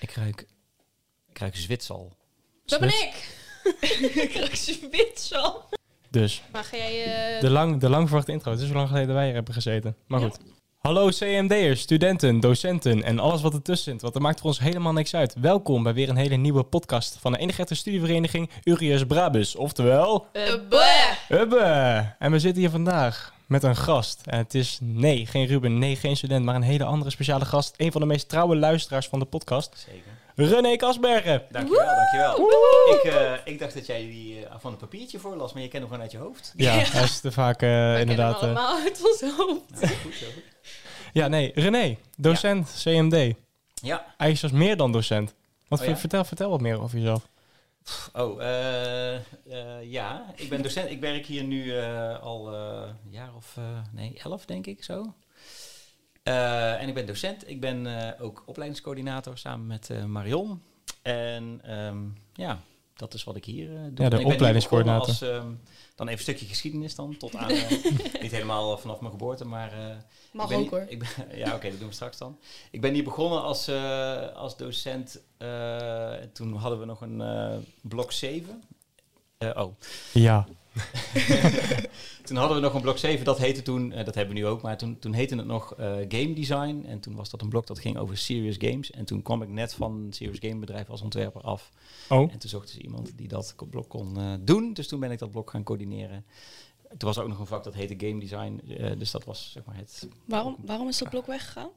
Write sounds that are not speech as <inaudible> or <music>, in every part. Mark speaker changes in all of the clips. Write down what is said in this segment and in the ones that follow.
Speaker 1: ruik, ik ruik zwitsal.
Speaker 2: Dat ben
Speaker 1: Zwit-
Speaker 2: ik! <laughs> ik ruik ze wit al.
Speaker 3: Dus,
Speaker 2: Maar ga jij... eh,
Speaker 3: de lang, de lang verwachte intro. Het is zo lang geleden dat wij hier hebben gezeten. Maar goed. Hallo CMD'ers, studenten, docenten en alles wat ertussen zit. Want dat maakt voor ons helemaal niks uit. Welkom bij weer een hele nieuwe podcast van de enige echte studievereniging Urius Brabus. Oftewel,
Speaker 2: eh, bleh.
Speaker 3: Hubbe! En we zitten hier vandaag met een gast. En het is, nee, geen Ruben, nee, geen student, maar een hele andere speciale gast. Een van de meest trouwe luisteraars van de podcast,
Speaker 1: Zeker.
Speaker 3: René Kasbergen.
Speaker 1: Dankjewel, dankjewel. Ik, eh, ik dacht dat jij die eh, van een papiertje voorlas, maar je kent hem gewoon uit je hoofd.
Speaker 3: Ja,
Speaker 2: Ja.
Speaker 3: hij is te vaak eh,
Speaker 2: We kennen hem
Speaker 3: inderdaad... eh,
Speaker 2: allemaal uit ons hoofd.
Speaker 1: Nou, goed zo.
Speaker 3: ja, nee, René, docent CMD.
Speaker 1: Ja,
Speaker 3: Eigenlijk zelfs dus meer dan docent. Want
Speaker 1: Oh ja?
Speaker 3: vertel, vertel wat meer over jezelf.
Speaker 1: Oh, eh, eh, ja. Ik ben docent. Ik werk hier nu eh, al eh, een jaar of eh, nee, elf, denk ik zo. Eh, en ik ben docent. Ik ben eh, ook opleidingscoördinator samen met eh, Marion. En ehm, ja, dat is wat ik hier eh, doe. En ik ben hier
Speaker 3: opleidingscoördinator.
Speaker 1: begonnen Als, ehm, dan even een stukje geschiedenis dan, tot aan... eh, niet helemaal vanaf mijn geboorte, maar... eh,
Speaker 2: Mag
Speaker 1: ik ben
Speaker 2: ook hoor.
Speaker 1: hier- Ik ben, <laughs> ja, oké, dat doen we straks dan. Ik ben hier begonnen als, eh, als docent. eh, toen hadden we nog een eh, blok 7. Eh, oh,
Speaker 3: Ja.
Speaker 1: toen hadden we nog een blok 7, dat heette toen, eh, dat hebben we nu ook, maar toen, toen heette het nog eh, game design. En toen was dat een blok dat ging over serious games. En toen kwam ik net van een serious game bedrijf als ontwerper af.
Speaker 3: Oh,
Speaker 1: En toen zochten ze iemand die dat ko- blok kon eh, doen. Dus toen ben ik dat blok gaan coördineren. Toen was er ook nog een vak dat heette game design. eh, dus dat was zeg maar het.
Speaker 2: Waarom, waarom is dat blok weggegaan?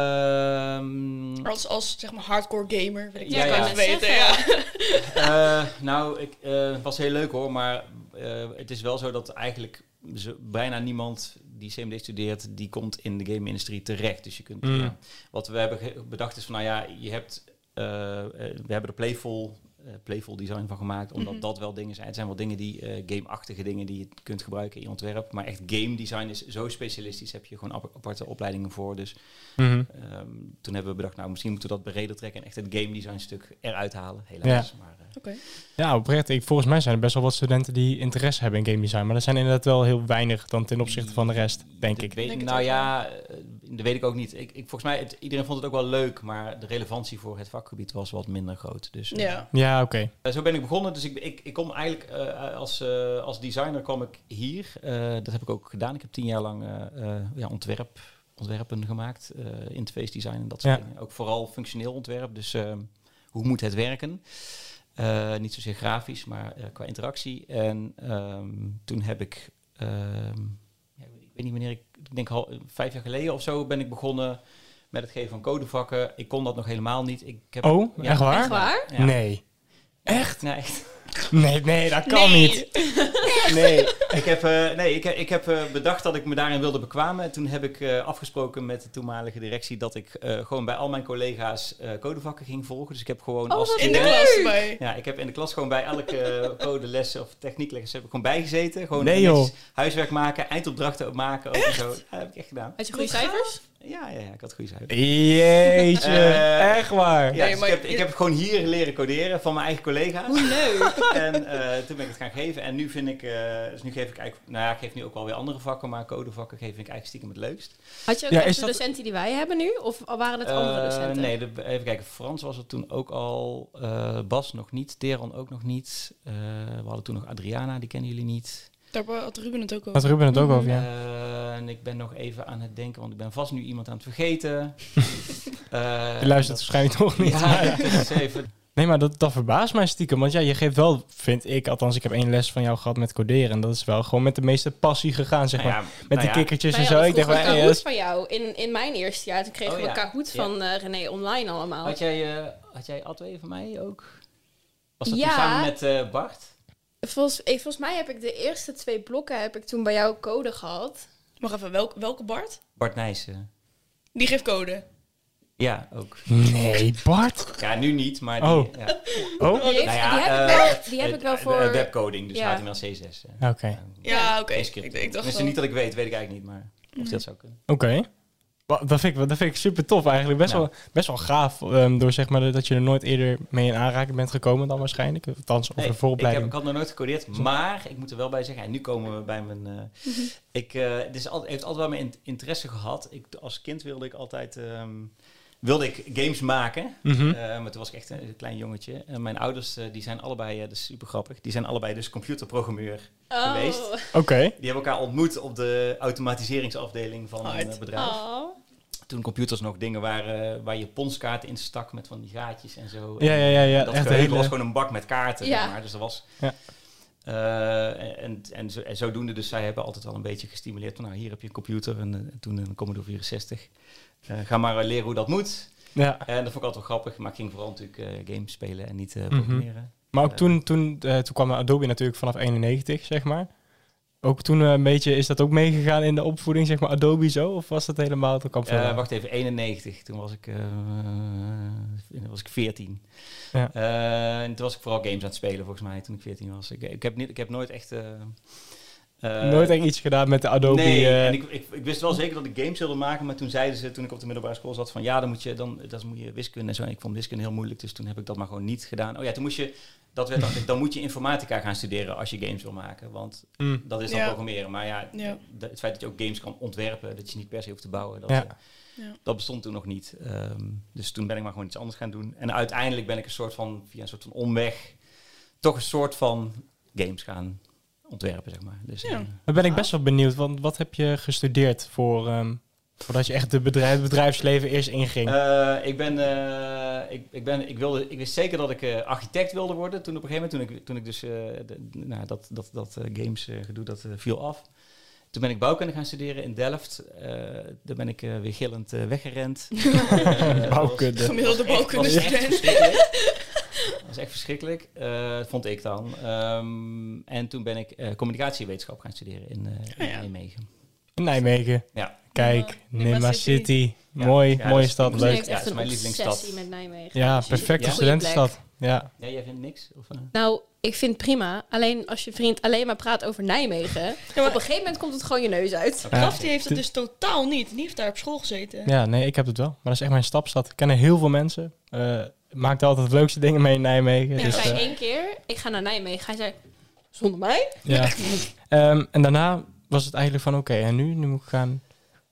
Speaker 1: Ehm,
Speaker 4: Als, als zeg maar hardcore gamer, weet ik
Speaker 1: Ja,
Speaker 4: niet,
Speaker 1: ja.
Speaker 4: kan je het weten. Ja.
Speaker 2: Zeggen.
Speaker 1: Eh, nou, ik, eh, het was heel leuk hoor, maar eh, het is wel zo dat eigenlijk zo- bijna niemand die CMD studeert, die komt in de game-industrie terecht. Dus je kunt,
Speaker 3: Mm.
Speaker 1: ja, wat we hebben ge- bedacht is van, nou ja, je hebt, eh, eh, we hebben er playful, eh, playful design van gemaakt, omdat
Speaker 4: Mhm.
Speaker 1: dat wel dingen zijn. Het zijn wel dingen die, eh, game-achtige dingen die je kunt gebruiken in je ontwerp, maar echt game design is zo specialistisch, heb je gewoon ap- aparte opleidingen voor. Dus
Speaker 3: mhm.
Speaker 1: ehm, toen hebben we bedacht, nou, misschien moeten we dat breder trekken en echt het game design stuk eruit halen, helaas. Maar, eh,
Speaker 4: Oké.
Speaker 3: ja oprecht. Ik, volgens mij zijn er best wel wat studenten die interesse hebben in game design. Maar er zijn inderdaad wel heel weinig dan ten opzichte van de rest, denk
Speaker 1: Dat
Speaker 3: ik.
Speaker 1: weet-
Speaker 4: Denk het
Speaker 1: nou
Speaker 4: ook,
Speaker 1: ja, eh, dat weet ik ook niet. Ik, ik, volgens mij, het, iedereen vond het ook wel leuk, maar de relevantie voor het vakgebied was wat minder groot. Dus, eh,
Speaker 4: Ja.
Speaker 3: Ja, oké.
Speaker 1: eh, zo ben ik begonnen. Dus ik, ik, ik kom eigenlijk eh, als, eh, als designer kwam ik hier. Eh, dat heb ik ook gedaan. Ik heb tien jaar lang eh, eh, ja, ontwerp, ontwerpen gemaakt, eh, interface design en dat soort
Speaker 3: Ja.
Speaker 1: dingen. Ook vooral functioneel ontwerp. Dus eh, hoe moet het werken? Eh, niet zozeer grafisch, maar eh, qua interactie. En ehm, toen heb ik, ehm, ja, ik weet niet wanneer ik, ik denk al eh, vijf jaar geleden of zo ben ik begonnen met het geven van codevakken. Ik kon dat nog helemaal niet. Ik heb,
Speaker 3: Oh,
Speaker 1: Ja.
Speaker 3: echt waar?
Speaker 2: Echt waar?
Speaker 1: Ja.
Speaker 3: Nee. Echt?
Speaker 1: Nee, echt.
Speaker 3: Nee, nee, dat kan
Speaker 2: Nee.
Speaker 3: niet.
Speaker 1: Nee, ik heb, eh, nee, ik, heb- ik heb eh, bedacht dat ik me daarin wilde bekwamen. En toen heb ik eh, afgesproken met de toenmalige directie dat ik eh, gewoon bij al mijn collega's eh, codevakken ging volgen. Dus ik heb gewoon
Speaker 2: Oh,
Speaker 1: als
Speaker 2: wat
Speaker 4: In de
Speaker 1: student-
Speaker 4: klas bij.
Speaker 1: Ja, ik heb in de klas gewoon bij elke codeles of techniekles heb ik gewoon bijgezeten. Gewoon
Speaker 3: Nee,
Speaker 1: netjes
Speaker 3: joh.
Speaker 1: huiswerk maken, eindopdrachten ook maken. Ook en zo. Ja, dat heb ik echt gedaan.
Speaker 2: Had je goede cijfers?
Speaker 1: Ja, ja, ja ik had goede cijfers.
Speaker 3: Jeetje,
Speaker 1: Eh,
Speaker 3: echt waar.
Speaker 1: Ja,
Speaker 4: Nee,
Speaker 1: dus
Speaker 4: maar
Speaker 1: ik, heb,
Speaker 4: je-
Speaker 1: ik heb gewoon hier leren coderen van mijn eigen collega's.
Speaker 2: Hoe leuk.
Speaker 1: En eh, toen ben ik het gaan geven. En nu vind ik, eh, dus nu geef ik eigenlijk, nou ja, ik geef nu ook wel weer andere vakken, maar codevakken geef ik eigenlijk stiekem het leukst.
Speaker 2: Had je ook
Speaker 3: Ja,
Speaker 2: echt
Speaker 3: is
Speaker 2: de
Speaker 3: dat-
Speaker 2: docenten die wij hebben nu? Of waren het andere
Speaker 1: Eh,
Speaker 2: docenten?
Speaker 1: nee, de- even kijken. Frans was er toen ook al, eh, Bas nog niet, Deron ook nog niet. Eh, we hadden toen nog Adriana, die kennen jullie niet.
Speaker 4: <laughs> Daar had Ruben het ook
Speaker 3: Had
Speaker 4: over.
Speaker 3: Ruben het ook
Speaker 2: Mhm.
Speaker 3: over, ja.
Speaker 1: Eh, en ik ben nog even aan het denken, want ik ben vast nu iemand aan het
Speaker 3: <laughs>
Speaker 1: vergeten. Eh,
Speaker 3: Je luistert waarschijnlijk toch niet.
Speaker 1: Ja, dat is
Speaker 2: <laughs>
Speaker 1: even.
Speaker 3: Nee, maar dat, dat verbaast mij stiekem. Want ja, je geeft wel, vind ik, althans ik heb één les van jou gehad met coderen. En dat is wel gewoon met de meeste passie gegaan, zeg maar.
Speaker 1: Nou ja,
Speaker 3: met
Speaker 1: nou
Speaker 3: die
Speaker 1: ja.
Speaker 3: kikkertjes
Speaker 2: Wij
Speaker 3: en zo.
Speaker 2: hadden
Speaker 3: Ik denk,
Speaker 2: vroeger
Speaker 3: wel, eh,
Speaker 2: Kahoot
Speaker 3: hey, dat is-
Speaker 2: van jou in, in mijn eerste jaar. Toen kregen
Speaker 1: eh, Oh,
Speaker 2: we
Speaker 1: ja.
Speaker 2: Kahoot
Speaker 1: Ja.
Speaker 2: van eh, René online allemaal.
Speaker 1: Had jij, eh, had jij Atwee van mij ook? Was dat toen
Speaker 2: Ja.
Speaker 1: samen met eh, Bart?
Speaker 2: Volgens, ik, volgens mij heb ik de eerste twee blokken heb ik toen bij jou code gehad.
Speaker 4: Mag even, welk, welke Bart?
Speaker 1: Bart Nijssen.
Speaker 4: Die geeft code.
Speaker 1: Ja, ook.
Speaker 3: Nee, Bart.
Speaker 1: Ja, nu niet, maar die...
Speaker 3: Oh.
Speaker 1: ja.
Speaker 3: Oh,
Speaker 2: Die, heeft-
Speaker 1: Nou ja,
Speaker 2: die heb,
Speaker 1: eh,
Speaker 2: ik wel, die heb
Speaker 1: eh,
Speaker 2: ik wel
Speaker 1: eh,
Speaker 2: voor...
Speaker 1: eh, webcoding, dus
Speaker 2: Ja.
Speaker 1: HTML, CSS. eh.
Speaker 3: oké.
Speaker 1: Eh,
Speaker 3: Oké.
Speaker 4: Ja, oké.
Speaker 1: geen
Speaker 4: Ik,
Speaker 1: script.
Speaker 4: ik dacht
Speaker 1: Tenminste,
Speaker 4: wel-
Speaker 1: niet dat ik weet, weet ik eigenlijk niet, maar of
Speaker 2: Mhm.
Speaker 1: dat zou kunnen.
Speaker 3: Wa- Dat vind, ik, dat vind ik super tof eigenlijk. Best,
Speaker 1: Nou.
Speaker 3: wel, best wel gaaf ehm, door zeg maar dat je er nooit eerder mee in aanraking bent gekomen dan waarschijnlijk. Althans,
Speaker 1: Nee,
Speaker 3: over
Speaker 1: ik,
Speaker 3: de
Speaker 1: heb, ik
Speaker 3: vooropleiding.
Speaker 1: had nog nooit gecodeerd, maar ik moet er wel bij zeggen, en nu komen we bij mijn... eh,
Speaker 2: Mhm.
Speaker 1: ik, eh, het is altijd, heeft altijd wel mijn in- interesse gehad. Ik, als kind wilde ik altijd... ehm, wilde ik games maken.
Speaker 3: Mhm.
Speaker 1: Eh, maar toen was ik echt een, een klein jongetje. En mijn ouders, eh, die zijn allebei, eh, dat is super grappig, die zijn allebei dus computerprogrammeur. Geweest.
Speaker 2: Oh.
Speaker 3: Oké.
Speaker 1: Die hebben elkaar ontmoet op de automatiseringsafdeling van een
Speaker 4: Hard.
Speaker 1: eh, bedrijf.
Speaker 2: Oh.
Speaker 1: Toen computers nog dingen waren eh, waar je ponskaarten in stak met van die gaatjes en zo.
Speaker 3: Ja,
Speaker 1: En
Speaker 3: ja, ja. ja.
Speaker 1: dat
Speaker 3: Echt een
Speaker 1: geheugen
Speaker 3: hele...
Speaker 1: was gewoon een bak met kaarten,
Speaker 2: Ja.
Speaker 1: zeg maar. Dus dat was...
Speaker 3: Ja.
Speaker 1: Eh, en, en, zo, en zodoende, dus zij hebben altijd wel een beetje gestimuleerd van, nou, hier heb je een computer en eh, toen een Commodore 64. Eh, ga maar eh, leren hoe dat moet.
Speaker 3: Ja.
Speaker 1: En dat vond ik altijd wel grappig, maar ik ging vooral natuurlijk eh, games spelen en niet eh
Speaker 3: Mhm.
Speaker 1: programmeren.
Speaker 3: Maar ook
Speaker 1: Eh.
Speaker 3: toen, toen, eh, toen kwam Adobe natuurlijk vanaf 91, zeg maar. Ook toen eh, een beetje, is dat ook meegegaan in de opvoeding, zeg maar, Adobe zo? Of was dat helemaal, toen kwam
Speaker 1: Eh,
Speaker 3: van-
Speaker 1: wacht even, 91. Toen was ik, eh, toen was ik 14.
Speaker 3: Ja.
Speaker 1: Eh, en toen was ik vooral games aan het spelen, volgens mij, toen ik 14 was. Ik, ik, heb, niet, ik heb nooit echt... eh, eh,
Speaker 3: Nooit echt iets gedaan met de Adobe.
Speaker 1: nee,
Speaker 3: eh,
Speaker 1: en ik, ik, ik wist wel zeker dat ik games wilde maken, maar toen zeiden ze, toen ik op de middelbare school zat, van ja, dan moet je, dan, dat moet je wiskunde en zo. En ik vond wiskunde heel moeilijk, dus toen heb ik dat maar gewoon niet gedaan. Oh ja, toen moest je, dat werd dan, dan moet je informatica gaan studeren als je games wil maken, want
Speaker 3: mm.
Speaker 1: dat is dan
Speaker 4: Ja.
Speaker 1: programmeren. Maar ja,
Speaker 4: Ja.
Speaker 1: de- het feit dat je ook games kan ontwerpen, dat je niet per se hoeft te bouwen, dat,
Speaker 3: Ja.
Speaker 1: eh,
Speaker 4: Ja.
Speaker 1: dat bestond toen nog niet. Ehm, dus toen ben ik maar gewoon iets anders gaan doen. En uiteindelijk ben ik een soort van, via een soort van omweg, toch een soort van games gaan ontwerpen, zeg maar. Dus,
Speaker 4: Ja.
Speaker 1: eh,
Speaker 3: Dan ben ik best wel benieuwd, want wat heb je gestudeerd voor, ehm, voordat je echt de bedrijf, het bedrijfsleven eerst inging?
Speaker 1: Eh, ik ben, eh, ik, ik ben, ik wilde, ik wist zeker dat ik eh, architect wilde worden. Toen op een gegeven moment, toen ik, toen ik dus, eh, de- nou, dat, dat, dat eh, games eh, gedoe, dat eh, viel af. Toen ben ik bouwkunde gaan studeren in Delft. Eh, daar ben ik eh, weer gillend eh,
Speaker 4: <laughs>
Speaker 1: weggerend. Eh,
Speaker 3: Bouwkunde.
Speaker 1: dat was-
Speaker 4: Gemiddelde
Speaker 1: dat was echt-
Speaker 4: bouwkunde
Speaker 1: was echt
Speaker 4: student.
Speaker 1: verschrikkelijk. <laughs> Dat was echt verschrikkelijk, eh, vond ik dan. Ehm, en toen ben ik eh, communicatiewetenschap gaan studeren in, eh,
Speaker 4: Oh ja.
Speaker 1: in Nijmegen.
Speaker 3: In Nijmegen.
Speaker 1: Ja.
Speaker 3: Kijk,
Speaker 4: Nimma
Speaker 3: Nimma City.
Speaker 4: City.
Speaker 1: Ja.
Speaker 3: Mooi,
Speaker 1: Ja, dat
Speaker 3: mooie
Speaker 1: is-
Speaker 3: stad.
Speaker 1: dat
Speaker 2: Leuk.
Speaker 3: Leuk.
Speaker 2: Echt
Speaker 1: Ja, het is
Speaker 2: een
Speaker 1: mijn lievelingsstad.
Speaker 2: obsessie met Nijmegen.
Speaker 3: Ja,
Speaker 2: Dus je-
Speaker 3: perfecte
Speaker 1: Ja.
Speaker 3: studentenstad. Ja.
Speaker 1: Ja, jij vindt niks? Of, eh?
Speaker 2: Nou, ik vind het prima. Alleen als je vriend alleen maar praat over Nijmegen. <laughs>
Speaker 4: maar-
Speaker 2: Op een gegeven moment komt het gewoon je neus uit.
Speaker 3: Ja.
Speaker 4: Graf die heeft het dus totaal niet. Die heeft daar op school gezeten.
Speaker 3: ja, nee, ik heb het wel. Maar dat is echt mijn stapstad. Ik ken er heel veel mensen. Eh maakt altijd de leukste dingen mee in Nijmegen.
Speaker 2: Ik
Speaker 3: dus,
Speaker 2: zei
Speaker 3: eh,
Speaker 2: één keer, ik ga naar Nijmegen. Hij zei, zonder mij?
Speaker 3: ja. Ehm, en daarna was het eigenlijk van, oké, en nu? Nu moet ik gaan...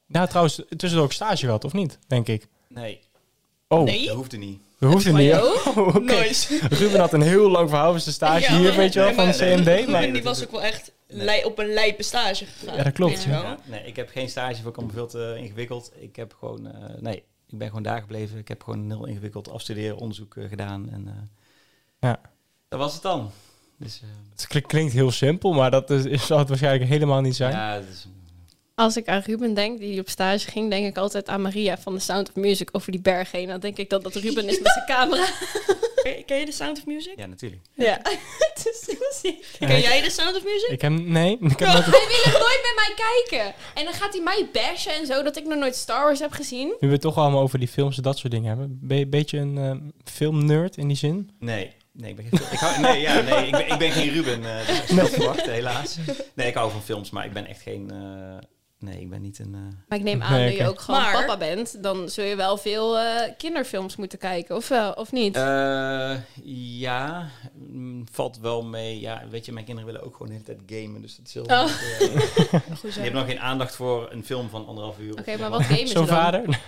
Speaker 3: Nou, trouwens, tussendoor ook stage gehad, of niet? Denk ik.
Speaker 1: Nee,
Speaker 3: Oh,
Speaker 4: Nee.
Speaker 1: dat hoefde niet.
Speaker 3: dat hoeft er
Speaker 2: Maar
Speaker 3: niet.
Speaker 2: joh.
Speaker 3: Oh, oké.
Speaker 4: Nice.
Speaker 3: Ruben had een heel lang verhaal over zijn stage
Speaker 4: Ja,
Speaker 3: hier,
Speaker 4: maar-
Speaker 3: weet je wel,
Speaker 4: nee,
Speaker 3: van
Speaker 4: maar-
Speaker 3: de
Speaker 1: nee,
Speaker 3: CMD.
Speaker 1: nee.
Speaker 3: Maar,
Speaker 4: Ruben die was ook wel echt
Speaker 1: Nee.
Speaker 4: lij- op een lijpe stage gegaan.
Speaker 3: ja, dat klopt.
Speaker 4: Ja.
Speaker 3: Ja.
Speaker 1: Ja, nee, ik heb geen stage voor me veel te ingewikkeld. Ik heb gewoon, eh, nee, ik ben gewoon daar gebleven. Ik heb gewoon een heel ingewikkeld afstuderen, onderzoek eh, gedaan. En, eh,
Speaker 3: Ja.
Speaker 1: Dat was het dan. Dus, eh,
Speaker 3: Het kl- klinkt heel simpel, maar dat is, is- zou het waarschijnlijk helemaal niet zijn.
Speaker 1: ja, het is-
Speaker 2: Als ik aan Ruben denk, die op stage ging, denk ik altijd aan Maria van The Sound of Music over die berg heen. Dan denk ik dat dat Ruben is met <laughs> zijn camera.
Speaker 4: Ken- Ken je de Sound of Music?
Speaker 1: ja, natuurlijk.
Speaker 2: Ja. <laughs> het is zo ziek.
Speaker 3: Ja,
Speaker 4: Ken
Speaker 3: ik-
Speaker 4: jij de Sound of Music?
Speaker 3: Ik heb, nee, <laughs> ik heb
Speaker 4: Ja.
Speaker 3: nooit-
Speaker 2: Hij wil het nooit bij mij kijken. En dan gaat hij mij bashen en zo, dat ik nog nooit Star Wars heb gezien.
Speaker 3: nu we het toch allemaal over die films en dat soort dingen hebben. Ben je een beetje een ehm, filmnerd in die zin?
Speaker 1: Nee, nee, ik ben geen, ik hou, nee, ja, nee ik, ben, ik ben geen Ruben. eh dus als je dat verwacht, helaas. Nee, ik hou van films, maar ik ben echt geen... eh, nee, ik ben niet een... eh,
Speaker 2: Maar ik neem aan,
Speaker 3: Nee,
Speaker 2: dat
Speaker 3: oké.
Speaker 2: je ook gewoon
Speaker 4: Maar-
Speaker 2: papa bent, dan zul je wel veel eh, kinderfilms moeten kijken, of wel, of niet?
Speaker 1: Eh, ja, mm, valt wel mee. Ja, weet je, mijn kinderen willen ook gewoon de hele tijd gamen. Dus dat is heel...
Speaker 2: Oh.
Speaker 1: eh,
Speaker 4: Goed
Speaker 1: Je hebt nog geen aandacht voor een film van anderhalf uur.
Speaker 2: Oké,
Speaker 1: of
Speaker 2: maar
Speaker 1: zeg
Speaker 2: wat gamen ze
Speaker 3: Zo'n
Speaker 2: dan?
Speaker 3: vader? <laughs>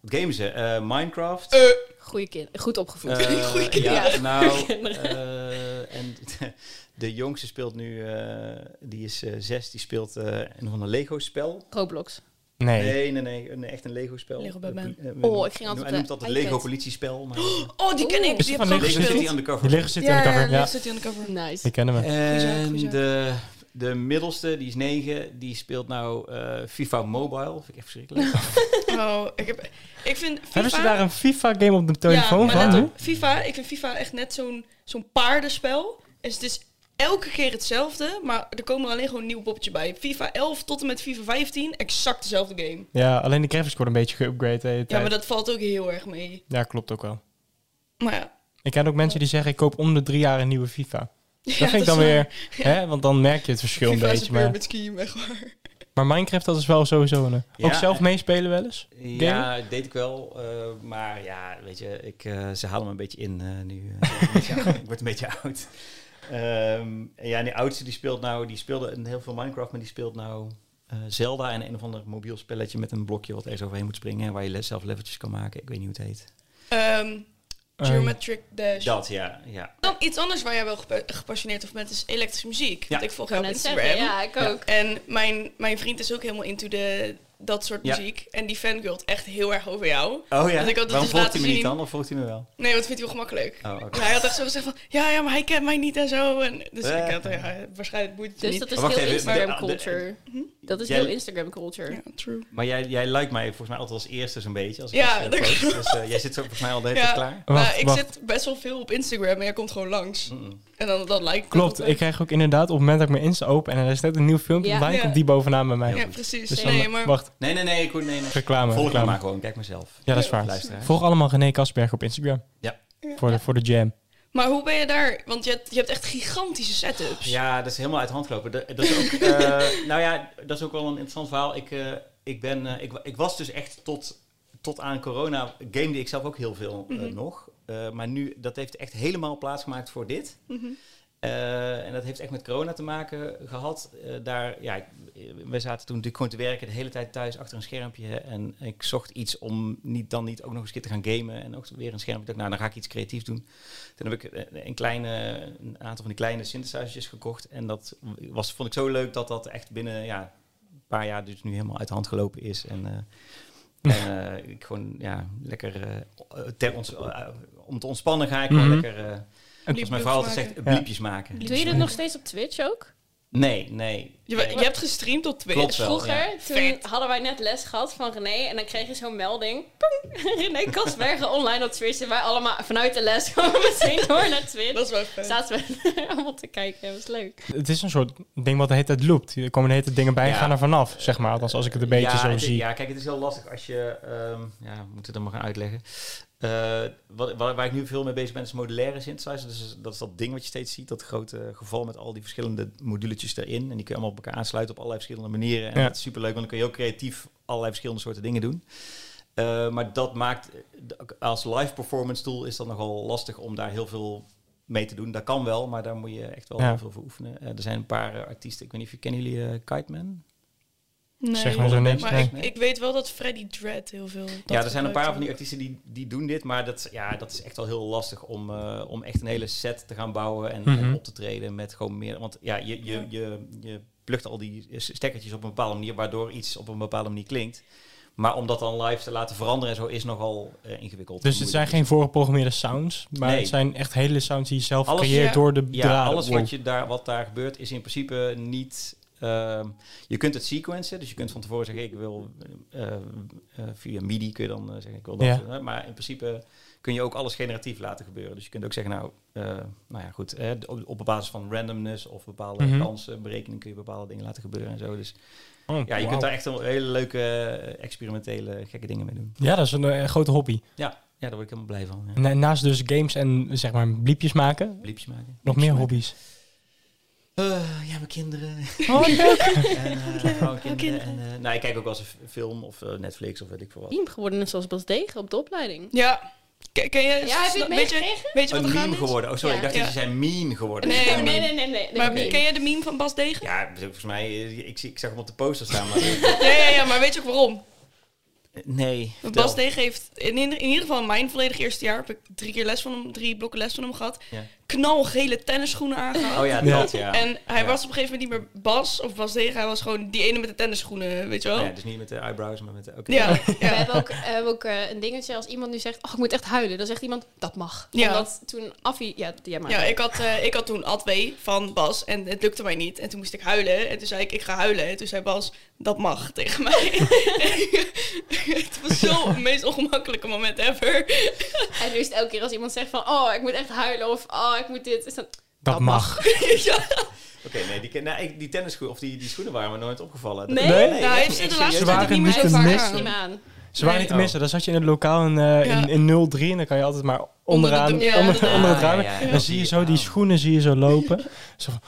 Speaker 1: Wat gamen ze? Eh, Minecraft.
Speaker 2: Goeie kind, goed opgevoed. <laughs>
Speaker 1: Eh,
Speaker 4: goeie
Speaker 1: ja,
Speaker 2: kinderen.
Speaker 1: nou,
Speaker 2: Goeie kinderen.
Speaker 1: eh, en <laughs> de jongste speelt nu, eh, die is eh, zes, die speelt eh, een van een Lego-spel.
Speaker 2: Roblox.
Speaker 3: Nee.
Speaker 1: Nee, nee, nee, een- echt een Lego-spel.
Speaker 4: Lego Batman.
Speaker 1: Eh, eh,
Speaker 2: Oh, ik ging altijd op
Speaker 1: Hij
Speaker 2: de
Speaker 1: noemt dat het
Speaker 2: iPad.
Speaker 1: Lego-politiespel. maar- eh,
Speaker 4: Oh, die ken
Speaker 2: Oeh.
Speaker 4: ik.
Speaker 3: Is het
Speaker 4: Die
Speaker 3: van
Speaker 4: heb ik ook
Speaker 1: Lego
Speaker 3: Lego
Speaker 4: gespeeld.
Speaker 1: City Undercover.
Speaker 3: Die Lego City
Speaker 4: ja,
Speaker 3: aan de cover.
Speaker 4: Lego
Speaker 3: Ja,
Speaker 4: City Undercover.
Speaker 2: Nice.
Speaker 3: die kennen we.
Speaker 4: zaak,
Speaker 1: En
Speaker 4: goeie zaak.
Speaker 1: de, de middelste, die is negen, die speelt nou eh, FIFA Mobile. Vind ik echt verschrikkelijk.
Speaker 4: Oh, ik, heb, ik vind FIFA...
Speaker 3: Hebben ze daar een FIFA-game op de telefoon
Speaker 4: ja, maar
Speaker 3: van
Speaker 4: let
Speaker 3: nu?
Speaker 4: op, FIFA, ik vind FIFA echt net zo'n zo'n paardenspel. Dus het is elke keer hetzelfde, maar er komen er alleen gewoon een nieuw poppetje bij. FIFA 11 tot en met FIFA 15, exact dezelfde game.
Speaker 3: Ja, alleen de graphics worden een beetje geüpgrade de hele
Speaker 4: Ja, maar
Speaker 3: tijd.
Speaker 4: dat valt ook heel erg mee.
Speaker 3: Ja, klopt ook wel.
Speaker 4: Maar ja.
Speaker 3: Ik ken ook mensen die zeggen, ik koop om de drie jaar een nieuwe FIFA. Dat
Speaker 4: <laughs> Ja,
Speaker 3: vind ik dan
Speaker 4: is
Speaker 3: weer,
Speaker 4: waar.
Speaker 3: hè, want dan merk je het verschil
Speaker 4: FIFA
Speaker 3: een
Speaker 4: is
Speaker 3: beetje.
Speaker 4: een
Speaker 3: Maar,
Speaker 4: pyramid scheme, echt waar.
Speaker 3: maar Minecraft, dat is wel sowieso een...
Speaker 1: Ja,
Speaker 3: ook zelf
Speaker 1: en-
Speaker 3: meespelen wel eens?
Speaker 1: Ja, dat deed ik wel. eh, maar ja, weet je, ik, eh, ze halen me een beetje in eh, nu. eh. ik, word een
Speaker 4: <laughs>
Speaker 1: beetje oud, ik word een beetje oud. Ehm, en ja, en die oudste die speelt nou, die speelde een heel veel Minecraft, maar die speelt nou eh, Zelda en een of ander mobiel spelletje met een blokje wat ergens overheen moet springen. En waar je le- zelf leveltjes kan maken. Ik weet niet hoe het heet.
Speaker 4: Ehm,
Speaker 3: Eh,
Speaker 4: Geometric Dash.
Speaker 1: Dat, ja. ja.
Speaker 4: Dan iets anders waar jij wel gepa- gepassioneerd over bent is elektrische muziek. Want ik volg jou op
Speaker 2: net
Speaker 4: Instagram.
Speaker 2: zeggen, ja, ik
Speaker 1: Ja.
Speaker 2: ook.
Speaker 4: En mijn, mijn vriend is ook helemaal into de, dat soort
Speaker 1: Ja.
Speaker 4: muziek. En die fangirlt echt heel erg over jou.
Speaker 1: Oh ja,
Speaker 4: Want ik had het
Speaker 1: waarom
Speaker 4: dus
Speaker 1: volgt hij
Speaker 4: laten
Speaker 1: me niet
Speaker 4: zien.
Speaker 1: dan? Of volgt hij me wel?
Speaker 4: Nee, want vindt hij wel gemakkelijk.
Speaker 1: Oh, oké.
Speaker 4: Ja, hij had echt zo gezegd van, ja, ja, maar hij kent mij niet en zo. En, dus
Speaker 1: Eh.
Speaker 4: ik had, ja, waarschijnlijk boeit het je
Speaker 2: Dus
Speaker 4: niet.
Speaker 2: dat is
Speaker 1: Oh, Wacht
Speaker 2: heel
Speaker 1: even,
Speaker 2: Instagram
Speaker 1: maar-
Speaker 2: culture. Dat is
Speaker 1: Jij-
Speaker 2: heel Instagram culture.
Speaker 4: Ja, true.
Speaker 1: Maar jij, jij lijkt mij volgens mij altijd als eerste zo'n beetje. Als ik
Speaker 4: Ja,
Speaker 1: iets, eh,
Speaker 4: dat
Speaker 1: post.
Speaker 4: klopt.
Speaker 1: Dus eh, jij zit zo volgens mij al de hele
Speaker 4: Ja.
Speaker 1: tijd klaar.
Speaker 3: Wacht,
Speaker 4: maar ik
Speaker 3: wacht.
Speaker 4: zit best wel veel op Instagram en jij komt gewoon langs.
Speaker 1: Mm-mm.
Speaker 4: En dan, dan lijkt het
Speaker 3: Klopt,
Speaker 4: altijd.
Speaker 3: ik krijg ook inderdaad op het moment dat ik mijn Insta open en er is net een nieuw filmpje,
Speaker 2: Ja.
Speaker 3: dan
Speaker 4: Ja.
Speaker 3: komt die bovenaan bij mij.
Speaker 1: Heel
Speaker 4: Ja,
Speaker 1: goed.
Speaker 4: precies.
Speaker 3: Dus dan,
Speaker 4: nee, maar
Speaker 3: wacht,
Speaker 1: Nee, nee, nee. Ik, hoor- nee, nee.
Speaker 3: reclame.
Speaker 1: Volg me
Speaker 3: reclame.
Speaker 1: maar gewoon. Kijk mezelf.
Speaker 3: Ja, dat is waar.
Speaker 1: Luister, hè.
Speaker 3: Volg allemaal René Kasberg op Instagram.
Speaker 1: Ja.
Speaker 3: Voor de, voor de jam.
Speaker 4: Maar hoe ben je daar? Want je hebt, je hebt echt gigantische setups.
Speaker 1: Ja, dat is helemaal uit de hand gelopen. Dat, dat is ook, eh, nou ja, dat is ook wel een interessant verhaal. Ik, eh, ik, ben, eh, ik, wa- ik was dus echt tot, tot aan corona, gamede ik zelf ook heel veel eh, nog. Eh, maar nu, dat heeft echt helemaal plaatsgemaakt voor dit. Eh, en dat heeft echt met corona te maken gehad. Eh, daar, ja, ik- eh, we zaten toen natuurlijk gewoon te werken, de hele tijd thuis achter een schermpje. En ik zocht iets om niet, dan niet ook nog eens een keer te gaan gamen. En ook weer een schermpje. Ik dacht, nou, dan ga ik iets creatiefs doen. Toen heb ik eh, een, kleine, een aantal van die kleine synthesizers gekocht. En dat was, vond ik zo leuk dat dat echt binnen ja, een paar jaar dus nu helemaal uit de hand gelopen is. En, eh, en, eh, ik gewoon ja, lekker eh, ter ons, eh, om te ontspannen ga ik gewoon
Speaker 3: Mhm.
Speaker 1: lekker... eh,
Speaker 4: Bliep-
Speaker 1: als mijn vrouw altijd
Speaker 4: maken.
Speaker 1: zegt, bliepjes maken.
Speaker 2: Doe je dat nog steeds op Twitch ook?
Speaker 1: Nee, nee.
Speaker 4: Je,
Speaker 1: nee.
Speaker 4: je hebt gestreamd op Twitch.
Speaker 1: Klopt wel.
Speaker 2: Vroeger,
Speaker 1: ja.
Speaker 2: toen
Speaker 4: Vet.
Speaker 2: hadden wij net les gehad van René. En dan kreeg je zo'n melding. Pong, <laughs> René Kasbergen online op Twitch. En wij allemaal vanuit de les <laughs> gewoon meteen door naar Twitch.
Speaker 4: Dat is wel vet.
Speaker 2: Zaten we <laughs> allemaal te kijken. Dat was leuk.
Speaker 3: Het is een soort ding wat de hele tijd loopt. Er komen de hele tijd dingen bij en
Speaker 1: Ja.
Speaker 3: gaan er vanaf, zeg maar. Althans, als ik het een beetje
Speaker 1: ja,
Speaker 3: zo
Speaker 1: het-
Speaker 3: zie.
Speaker 1: Ja, kijk, het is heel lastig als je... ehm, ja, we moeten het dan maar gaan uitleggen. Eh, wat, waar, waar ik nu veel mee bezig ben, is modulaire synthesizer. Dus dat is dat ding wat je steeds ziet. Dat grote geval met al die verschillende moduletjes erin. En die kun je allemaal op elkaar aansluiten op allerlei verschillende manieren. En
Speaker 3: Ja.
Speaker 1: dat is superleuk, want dan kun je ook creatief allerlei verschillende soorten dingen doen. Eh, maar dat maakt, als live performance tool is dat nogal lastig om daar heel veel mee te doen. Dat kan wel, maar daar moet je echt wel
Speaker 3: Ja.
Speaker 1: heel veel voor oeefenen. Eh, er zijn een paar eh, artiesten, ik weet niet of je, kennen jullie eh, Kite Man?
Speaker 4: Nee.
Speaker 3: Zeg maar zo niks.
Speaker 4: Maar
Speaker 3: nee.
Speaker 4: ik, ik weet wel dat Freddy Dredd heel veel.
Speaker 1: ja, er zijn een paar van die artiesten die, die doen dit, maar dat, ja, dat is echt wel heel lastig om, eh, om echt een hele set te gaan bouwen en, en
Speaker 3: Mhm.
Speaker 1: op te treden met gewoon meer. Want ja, je, je, je, je plukt al die stekkertjes op een bepaalde manier, waardoor iets op een bepaalde manier klinkt. Maar om dat dan live te laten veranderen en zo is nogal eh, ingewikkeld.
Speaker 3: Dus het zijn geen voorgeprogrammeerde sounds, maar
Speaker 1: Nee.
Speaker 3: het zijn echt hele sounds die je zelf
Speaker 1: Alles-
Speaker 3: creëert
Speaker 4: ja.
Speaker 3: door de
Speaker 1: Ja,
Speaker 3: draden.
Speaker 1: alles
Speaker 3: Wow.
Speaker 1: wat, je daar, wat daar gebeurt is in principe niet... ehm, je kunt het sequencen, dus je kunt van tevoren zeggen... ik wil eh, eh, via MIDI kun je dan eh, zeggen, ik wil dat.
Speaker 3: Ja.
Speaker 1: eh, maar in principe kun je ook alles generatief laten gebeuren. Dus je kunt ook zeggen, nou, eh, nou ja, goed... eh, op, op basis van randomness of bepaalde
Speaker 3: Mhm.
Speaker 1: kansenberekening... kun je bepaalde dingen laten gebeuren en zo. Dus
Speaker 3: Oh,
Speaker 1: ja, je
Speaker 3: wauw.
Speaker 1: kunt daar echt een hele leuke, eh, experimentele, gekke dingen mee doen.
Speaker 3: Ja, dat is een eh, grote hobby.
Speaker 1: Ja, ja, daar word ik helemaal blij van. Ja.
Speaker 3: Na- Naast dus games en zeg maar bliepjes maken, nog
Speaker 1: Bliepjes maken.
Speaker 3: meer hobby's.
Speaker 1: Eh, ja, mijn kinderen.
Speaker 3: Oh,
Speaker 1: En, <laughs> eh, gewoon kinderen. En, eh, nou, ik kijk ook wel eens een f- film of eh, Netflix of weet ik veel wat.
Speaker 2: Meme geworden zoals Bas Degen op de opleiding.
Speaker 4: Ja. Ken, ken je?
Speaker 2: Ja, heb je
Speaker 4: sna-
Speaker 2: het
Speaker 4: weet je,
Speaker 2: meegekregen?
Speaker 4: weet je
Speaker 1: Een
Speaker 4: wat er
Speaker 1: meme
Speaker 4: gaande is?
Speaker 1: geworden. Oh, sorry,
Speaker 2: Ja.
Speaker 1: ik dacht dat je
Speaker 4: Ja.
Speaker 1: zei mean geworden.
Speaker 4: Nee,
Speaker 1: Ja,
Speaker 2: Nee, nee, nee. nee, nee,
Speaker 4: Maar
Speaker 2: Oké.
Speaker 4: ken je de meme van Bas Degen?
Speaker 1: Ja, volgens mij, eh, ik, zie, ik zag hem op de poster staan, maar... eh,
Speaker 4: Ja, ja, ja, maar weet je ook waarom?
Speaker 1: <laughs> nee,
Speaker 4: Want
Speaker 1: vertel.
Speaker 4: Bas Degen heeft, in, ieder- in ieder geval in mijn volledig eerste jaar, heb ik drie keer les van hem, drie blokken les van hem gehad.
Speaker 1: Ja.
Speaker 4: Knalgele tennisschoenen aangehad.
Speaker 1: Oh ja,
Speaker 3: Ja.
Speaker 1: dat, ja.
Speaker 4: En hij
Speaker 1: Ja.
Speaker 4: was op een gegeven moment niet meer Bas of Bas Degen, hij was gewoon die ene met de tennisschoenen, weet je wel?
Speaker 1: Ja, dus niet met de eyebrows, maar met de... oké.
Speaker 4: oh. Ja,
Speaker 2: We
Speaker 4: ja.
Speaker 2: hebben ook, we hebben ook eh, een dingetje als iemand nu zegt... Oh, ik moet echt huilen. Dan zegt iemand, dat mag.
Speaker 4: Ja.
Speaker 2: Omdat toen Affie... Ja, jij maar.
Speaker 4: Ja, ik had, eh, ik had toen Adwee van Bas en het lukte mij niet. En toen moest ik huilen en toen zei ik, ik ga huilen. En toen zei Bas, dat mag tegen mij. <laughs> het was zo het meest ongemakkelijke moment ever.
Speaker 2: En nu is het elke keer als iemand zegt van... Oh, ik moet echt huilen. Of oh, ik moet dit. Is dat,
Speaker 3: dat
Speaker 2: Dat
Speaker 3: mag.
Speaker 4: ja.
Speaker 1: Oké, nee, die, ken- nou, ik- die tennisschoenen, of die, die schoenen waren me nooit opgevallen. Dat-
Speaker 2: Nee?
Speaker 3: Nee,
Speaker 4: Nou, hij
Speaker 1: echt
Speaker 4: heeft ze
Speaker 1: niet,
Speaker 4: de
Speaker 1: echt serieus.
Speaker 3: Ze
Speaker 4: laatste <laughs> tijd ook niet meer
Speaker 3: waren
Speaker 4: zo
Speaker 3: niet te
Speaker 4: vaak
Speaker 3: missen.
Speaker 4: aan.
Speaker 2: niet meer aan.
Speaker 3: Ze waren
Speaker 4: Nee.
Speaker 3: niet te missen, dan zat je in het lokaal in, eh,
Speaker 4: Ja.
Speaker 3: in, in 03 en dan kan je altijd maar onderaan,
Speaker 4: de- ja,
Speaker 3: onder,
Speaker 4: ja,
Speaker 3: onder het
Speaker 1: ja,
Speaker 3: raam.
Speaker 1: ja, ja.
Speaker 3: Dan zie je zo die schoenen zie je zo lopen. zo van,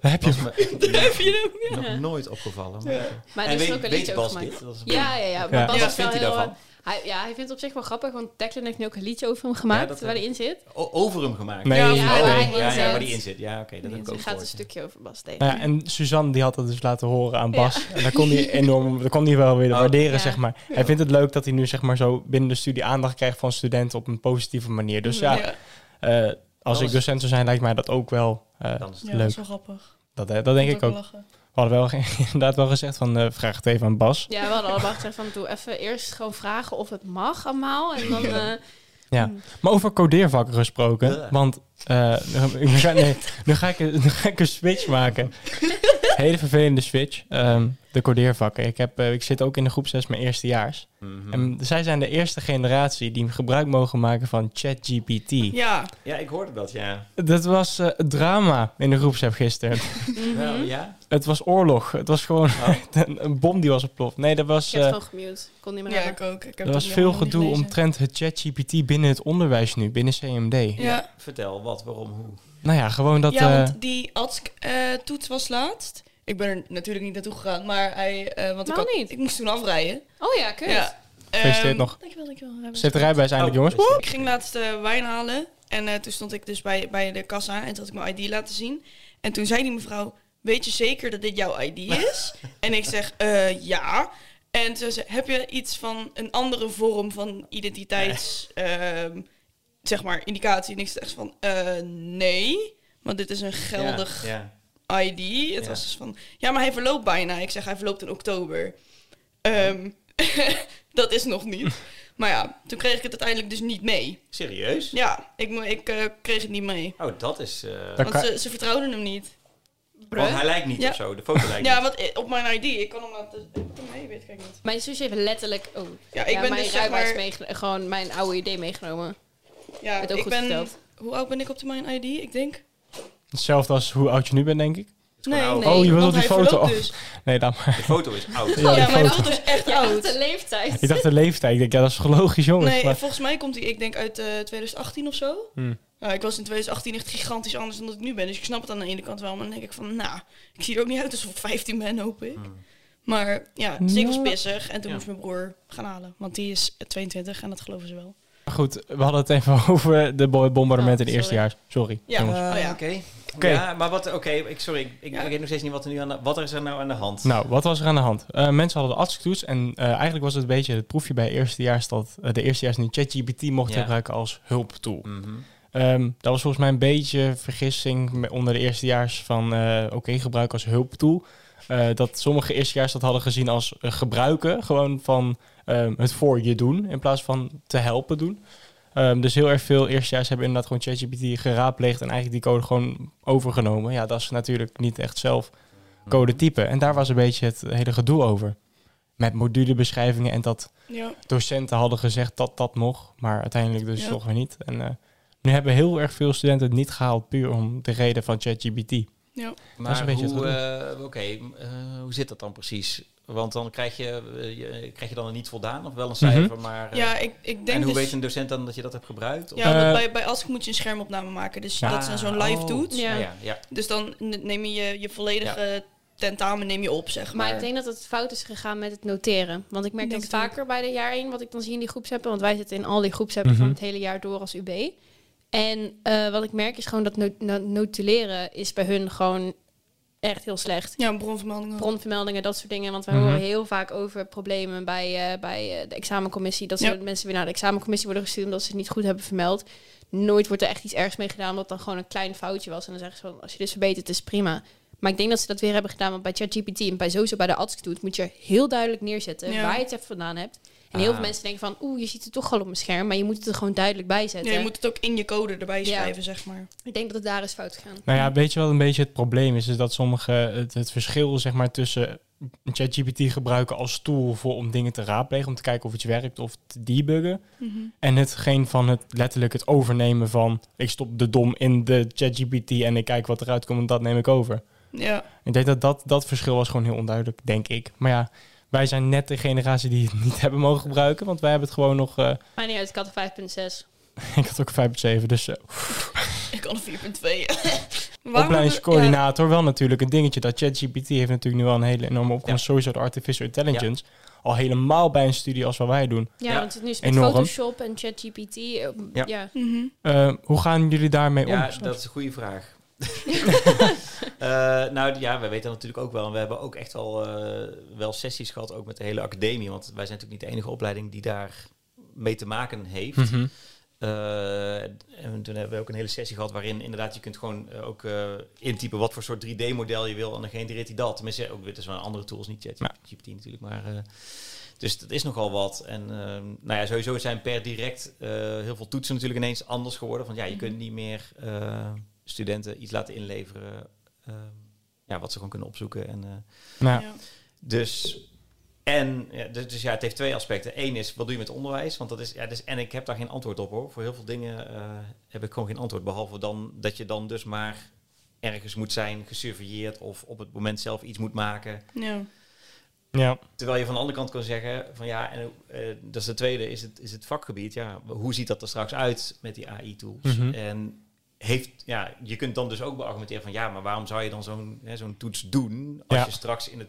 Speaker 3: daar heb je
Speaker 1: was
Speaker 3: hem.
Speaker 1: me echt
Speaker 4: je
Speaker 1: nog nooit opgevallen. Maar...
Speaker 4: Ja.
Speaker 2: Maar
Speaker 1: en
Speaker 2: er is
Speaker 1: weet,
Speaker 2: ook een
Speaker 1: weet
Speaker 2: liedje over
Speaker 1: Bas
Speaker 2: gemaakt.
Speaker 1: dit? Dat is een-
Speaker 2: Ja, ja, ja. Maar
Speaker 3: Ja.
Speaker 2: Bas
Speaker 4: Ja.
Speaker 2: is
Speaker 1: Wat vindt hij
Speaker 2: wel heel...
Speaker 1: daarvan?
Speaker 2: eh, Hij, ja, hij vindt het op zich wel grappig, want Declan heeft nu ook een liedje over hem gemaakt
Speaker 1: dat, eh,
Speaker 2: waar hij in zit.
Speaker 1: O- over hem gemaakt.
Speaker 3: Nee,
Speaker 4: Ja,
Speaker 3: nee.
Speaker 2: ja,
Speaker 1: Oh,
Speaker 2: waar
Speaker 1: nee.
Speaker 2: hij in
Speaker 1: ja, ja,
Speaker 2: zit.
Speaker 1: waar die in zit. Ja, oké, dat heb ik
Speaker 2: Er
Speaker 1: ook
Speaker 2: gaat een
Speaker 1: gehoord, ja.
Speaker 2: stukje over Bas tegen.
Speaker 3: Nou ja, en Suzanne die had dat dus laten horen aan
Speaker 2: Ja.
Speaker 3: Bas. En daar kon <laughs> hij enorm, daar kon hij wel weer
Speaker 1: Oh,
Speaker 3: waarderen,
Speaker 2: ja.
Speaker 3: zeg maar. Hij vindt het leuk dat hij nu zeg maar zo binnen de studie aandacht krijgt van studenten op een positieve manier. Dus ja,
Speaker 4: Ja,
Speaker 3: eh, als
Speaker 1: Dat
Speaker 3: ik
Speaker 1: is-
Speaker 3: docent zou zijn, lijkt mij dat ook wel. eh,
Speaker 1: Dan is het-
Speaker 4: Ja,
Speaker 3: Leuk.
Speaker 4: dat is wel grappig.
Speaker 3: dat, dat denk ik ook.
Speaker 4: Lachen.
Speaker 3: We hadden wel ge- <laughs> inderdaad wel gezegd van eh, vraag het even aan Bas.
Speaker 2: Ja, we hadden allemaal gezegd van doe even eerst gewoon vragen of het mag allemaal. En dan, eh,
Speaker 3: Maar over codeervakken gesproken.
Speaker 1: Ja.
Speaker 3: Want eh, <laughs> nu- nu, ga, nee, nu, ga ik, een- nu ga ik een switch <laughs> maken. Hele vervelende switch. ehm, de codeervakken. Ik, heb, eh, ik zit ook in de groep 6 mijn eerstejaars.
Speaker 1: Mhm.
Speaker 3: En zij zijn de eerste generatie die gebruik mogen maken van ChatGPT.
Speaker 4: Ja,
Speaker 1: Ja, ik hoorde dat, ja.
Speaker 3: Dat was eh, het drama in de groepsapp <laughs> gisteren.
Speaker 4: Mhm.
Speaker 1: Nou, ja.
Speaker 3: het was oorlog. Het was gewoon
Speaker 1: Oh.
Speaker 3: <laughs> een, een bom die was ontploft. Nee, dat was...
Speaker 2: ik heb het
Speaker 3: eh,
Speaker 2: gewoon gemute. Ik kon niet meer
Speaker 4: ja
Speaker 2: hebben.
Speaker 4: ik ook. Ik heb
Speaker 3: Er
Speaker 4: het
Speaker 3: was
Speaker 4: niet
Speaker 3: veel
Speaker 4: allemaal niet
Speaker 3: gedoe
Speaker 4: gelezen.
Speaker 3: omtrent het ChatGPT binnen het onderwijs nu, binnen CMD.
Speaker 4: Ja,
Speaker 1: Vertel, wat, waarom, hoe.
Speaker 3: Nou ja, gewoon dat.
Speaker 4: ja
Speaker 3: eh,
Speaker 4: want die ATSC-toets was laatst. Ik ben er natuurlijk niet naartoe gegaan, maar hij... eh, want ik,
Speaker 2: Nou
Speaker 4: had-
Speaker 2: niet.
Speaker 4: ik moest toen afrijden.
Speaker 2: Oh ja, kut.
Speaker 4: Ja.
Speaker 3: Gefeliciteerd
Speaker 4: Ehm,
Speaker 3: nog.
Speaker 4: Dankjewel, dankjewel. We
Speaker 3: Ze
Speaker 4: hebben
Speaker 3: heeft de rijbewijs eindelijk,
Speaker 1: Oh,
Speaker 3: jongens.
Speaker 1: dus-
Speaker 4: Ik ging laatst eh, wijn halen en eh, toen stond ik dus bij, bij de kassa en toen had ik mijn ID laten zien. En toen zei die mevrouw, weet je zeker dat dit jouw ID
Speaker 1: <laughs>
Speaker 4: is? en ik zeg, "Eh, ja. En toen zei ze, heb je iets van een andere vorm van identiteits, ehm, zeg maar, indicatie? En ik zeg van, "Eh, nee, want dit is een geldig
Speaker 1: Ja, ja.
Speaker 4: ID. Het
Speaker 1: Ja.
Speaker 4: was dus van, ja, maar hij verloopt bijna. Ik zeg, hij verloopt in
Speaker 1: Oh.
Speaker 4: oktober. Ehm, <laughs> dat is nog
Speaker 1: <laughs>
Speaker 4: niet. Maar ja, toen kreeg ik het uiteindelijk dus niet mee.
Speaker 1: Serieus?
Speaker 4: Ja, ik, mo- ik eh, kreeg het niet mee.
Speaker 1: Oh, dat is... eh
Speaker 3: Dat-
Speaker 1: want
Speaker 4: Want
Speaker 3: kan-
Speaker 4: ze, ze vertrouwden hem niet.
Speaker 3: Oh,
Speaker 1: hij lijkt niet
Speaker 4: Ja.
Speaker 1: of zo, de foto lijkt
Speaker 4: Ja,
Speaker 1: niet.
Speaker 4: want eh, op mijn ID, ik kan hem laten... Ik heb hem mee, weet ik eigenlijk niet.
Speaker 2: Mijn zusje heeft letterlijk oh,
Speaker 4: Ja, ik ben
Speaker 2: mijn
Speaker 4: dus zeg
Speaker 2: rijbewijs
Speaker 4: maar...
Speaker 2: meegenomen. Gewoon mijn oude idee meegenomen.
Speaker 4: Ja,
Speaker 2: Het ook
Speaker 4: ik
Speaker 2: goed
Speaker 4: ben...
Speaker 2: verteld.
Speaker 4: Hoe oud ben ik op de mijn ID? Ik denk...
Speaker 3: Hetzelfde als hoe oud je nu bent, denk ik.
Speaker 1: gewoon oud.
Speaker 3: Oh, je wilt
Speaker 4: want
Speaker 3: op die
Speaker 4: hij
Speaker 3: foto.
Speaker 4: verloopt
Speaker 3: Oh.
Speaker 4: Dus.
Speaker 3: Nee, dan maar.
Speaker 1: De foto is <laughs> oud.
Speaker 3: Ja, die
Speaker 4: ja, mijn
Speaker 3: foto.
Speaker 4: foto is dus echt
Speaker 2: Ja,
Speaker 4: oud.
Speaker 2: de leeftijd.
Speaker 3: <laughs> Ik dacht de leeftijd. Ik denk, ja, dat is logisch, jongens.
Speaker 4: Nee,
Speaker 3: maar
Speaker 4: volgens mij komt hij, ik denk, uit eh, 2018 of zo.
Speaker 3: Hmm.
Speaker 4: Nou, ik was in 2018 echt gigantisch anders dan dat ik nu ben. Dus ik snap het aan de ene kant wel. Maar dan denk ik van, nou, ik zie er ook niet uit alsof ik 15 ben, hoop ik.
Speaker 1: Hmm.
Speaker 4: Maar ja, dus ik was
Speaker 3: Ja.
Speaker 4: pissig. En toen
Speaker 1: Ja.
Speaker 4: moest mijn broer gaan halen. Want die is 22 en dat geloven ze wel.
Speaker 3: goed, we hadden het even <laughs> over de bo- bombardementen in
Speaker 2: Oh,
Speaker 3: het eerstejaars. Sorry,
Speaker 4: Ja.
Speaker 3: jongens.
Speaker 4: Oh, ja.
Speaker 1: Oké.
Speaker 3: Oké.
Speaker 1: Ja, maar wat... Oké, ik, sorry, ik, ik
Speaker 4: Ja.
Speaker 1: weet nog steeds niet wat er nu aan de, Wat is er nou aan de hand?
Speaker 3: Nou, wat was er aan de hand? Eh, mensen hadden de artstoets en eh, eigenlijk was het een beetje het proefje bij eerstejaars dat eh, de eerstejaars nu ChatGPT mochten
Speaker 1: Ja.
Speaker 3: gebruiken als hulptool.
Speaker 1: Mhm.
Speaker 3: Ehm, dat was volgens mij een beetje vergissing me- onder de eerstejaars van eh, oké, gebruik als hulptool. Eh, dat sommige eerstejaars dat hadden gezien als eh, gebruiken, gewoon van ehm, het voor je doen in plaats van te helpen doen. Ehm, dus heel erg veel eerstejaars hebben inderdaad gewoon ChatGPT geraadpleegd en eigenlijk die code gewoon overgenomen. Ja, dat is natuurlijk niet echt zelf code typen. En daar was een beetje het hele gedoe over. Met modulebeschrijvingen en dat
Speaker 4: Ja.
Speaker 3: docenten hadden gezegd dat dat nog, maar uiteindelijk dus
Speaker 4: Ja.
Speaker 3: toch weer niet. En eh, nu hebben heel erg veel studenten het niet gehaald puur om de reden van ChatGPT. Nou
Speaker 1: Maar
Speaker 3: Dat is een beetje het
Speaker 1: hoe, eh, oké, m, eh, hoe zit dat dan precies? Want dan krijg je, eh, je- krijg je dan een niet voldaan of wel een
Speaker 3: Mhm.
Speaker 1: cijfer, maar... eh,
Speaker 4: Ja, ik, ik denk
Speaker 1: en hoe
Speaker 4: dus...
Speaker 1: weet een docent dan dat je dat hebt gebruikt? Of-
Speaker 4: ja, want
Speaker 3: Eh,
Speaker 4: bij, bij ASK moet je een schermopname maken. Dus
Speaker 3: Ja.
Speaker 4: dat is dan zo'n live toets.
Speaker 2: Ja.
Speaker 1: Ja, Ah, ja, ja.
Speaker 4: Dus dan n- neem je je je volledige tentamen neem je op, zeg maar.
Speaker 2: Maar ik denk dat het fout is gegaan met het noteren. Want ik merk
Speaker 4: Ik
Speaker 2: dat
Speaker 4: denk het
Speaker 2: vaker bij de jaar 1, wat ik dan zie in die groepsappen. Want wij zitten in al die groepsappen
Speaker 3: Mhm.
Speaker 2: van het hele jaar door als UB. En eh, wat ik merk is gewoon dat no- no- notuleren is bij hun gewoon echt heel slecht.
Speaker 4: Ja, een bronvermelding.
Speaker 2: Mhm.
Speaker 4: ook.
Speaker 2: Bronvermeldingen, dat soort dingen. Want wij
Speaker 3: Mhm.
Speaker 2: horen heel vaak over problemen bij, eh, bij eh, de examencommissie. Dat ze
Speaker 4: Ja.
Speaker 2: mensen weer naar de examencommissie worden gestuurd omdat ze het niet goed hebben vermeld. Nooit wordt er echt iets ergs mee gedaan, omdat het dan gewoon een klein foutje was. En dan zeggen ze van, als je dit verbetert, is prima. Maar ik denk dat ze dat weer hebben gedaan, want bij ChatGPT en bij sowieso bij de ATSC doet, moet je heel duidelijk neerzetten
Speaker 4: Ja.
Speaker 2: waar je het even vandaan hebt. En heel
Speaker 1: Ah.
Speaker 2: veel mensen denken van, oeh, je ziet het toch al op mijn scherm, maar je moet het er gewoon duidelijk bij zetten.
Speaker 4: Ja, je moet het ook in je code erbij
Speaker 2: Ja.
Speaker 4: schrijven, zeg maar.
Speaker 2: Ik denk dat het daar is fout gegaan.
Speaker 3: Nou ja, weet je wat een beetje het probleem is? Is dat sommige het, het verschil zeg maar, tussen ChatGPT gebruiken als tool voor, om dingen te raadplegen, om te kijken of iets werkt of te debuggen. En hetgeen van het letterlijk het overnemen van ik stop de dom in de ChatGPT en ik kijk wat eruit komt en dat neem ik over.
Speaker 4: Ja.
Speaker 3: Ik denk dat, dat dat verschil was gewoon heel onduidelijk, denk ik. Maar ja, wij zijn net de generatie die het niet <laughs> hebben mogen gebruiken. Want wij hebben het gewoon nog... eh, <laughs>
Speaker 2: Maar niet uit, ik had een 5.6.
Speaker 3: ik had ook een 5.7, dus eh,
Speaker 4: Ik kan een 4.2. <laughs> Waarom hebben-
Speaker 3: opleidingscoördinator wel natuurlijk een dingetje. Dat ChatGPT heeft natuurlijk nu al een hele enorme opkomst. Sowieso de artificial intelligence. Al helemaal bij een studie als wat wij doen.
Speaker 2: Ja,
Speaker 1: Ja,
Speaker 2: want het is nu is het
Speaker 3: enorm.
Speaker 2: Photoshop en ChatGPT. eh,
Speaker 1: Ja.
Speaker 2: Ja.
Speaker 4: Mhm.
Speaker 3: Eh, hoe gaan jullie daarmee om?
Speaker 1: Ja, dat is een goede vraag.
Speaker 4: <laughs>
Speaker 1: Eh, nou ja, we weten dat natuurlijk ook wel. En we hebben ook echt al eh, wel sessies gehad, ook met de hele academie. Want wij zijn natuurlijk niet de enige opleiding die daar mee te maken heeft.
Speaker 3: Mhm.
Speaker 1: Eh, en toen hebben we ook een hele sessie gehad waarin inderdaad je kunt gewoon eh, ook eh, intypen wat voor soort 3D-model je wil en dan genereert hij dat. Tenminste, ook dit is wel een andere tools, niet ChatGPT natuurlijk, maar eh, dus dat is nogal wat. En ehm, nou ja, sowieso zijn per direct eh, heel veel toetsen natuurlijk ineens anders geworden. Van ja, je kunt niet meer eh, studenten iets laten inleveren ehm, ja, wat ze gewoon kunnen opzoeken en eh,
Speaker 3: Nou,
Speaker 4: Ja.
Speaker 1: dus, en, ja, dus, dus ja, het heeft twee aspecten. Eén is, wat doe je met onderwijs? Want dat is, ja, dus, en ik heb daar geen antwoord op hoor. Voor heel veel dingen eh, heb ik gewoon geen antwoord. Behalve dan dat je dan dus maar ergens moet zijn, gesurveilleerd of op het moment zelf iets moet maken.
Speaker 4: Ja.
Speaker 3: ja.
Speaker 1: Terwijl je van de andere kant kan zeggen van ja, en, eh, dat is de tweede, is het, is het vakgebied. Ja, hoe ziet dat er straks uit met die AI-tools?
Speaker 3: Mhm.
Speaker 1: En heeft, ja, je kunt dan dus ook beargumenteren van ja, maar waarom zou je dan zo'n hè, zo'n toets doen als
Speaker 3: Ja.
Speaker 1: je straks in het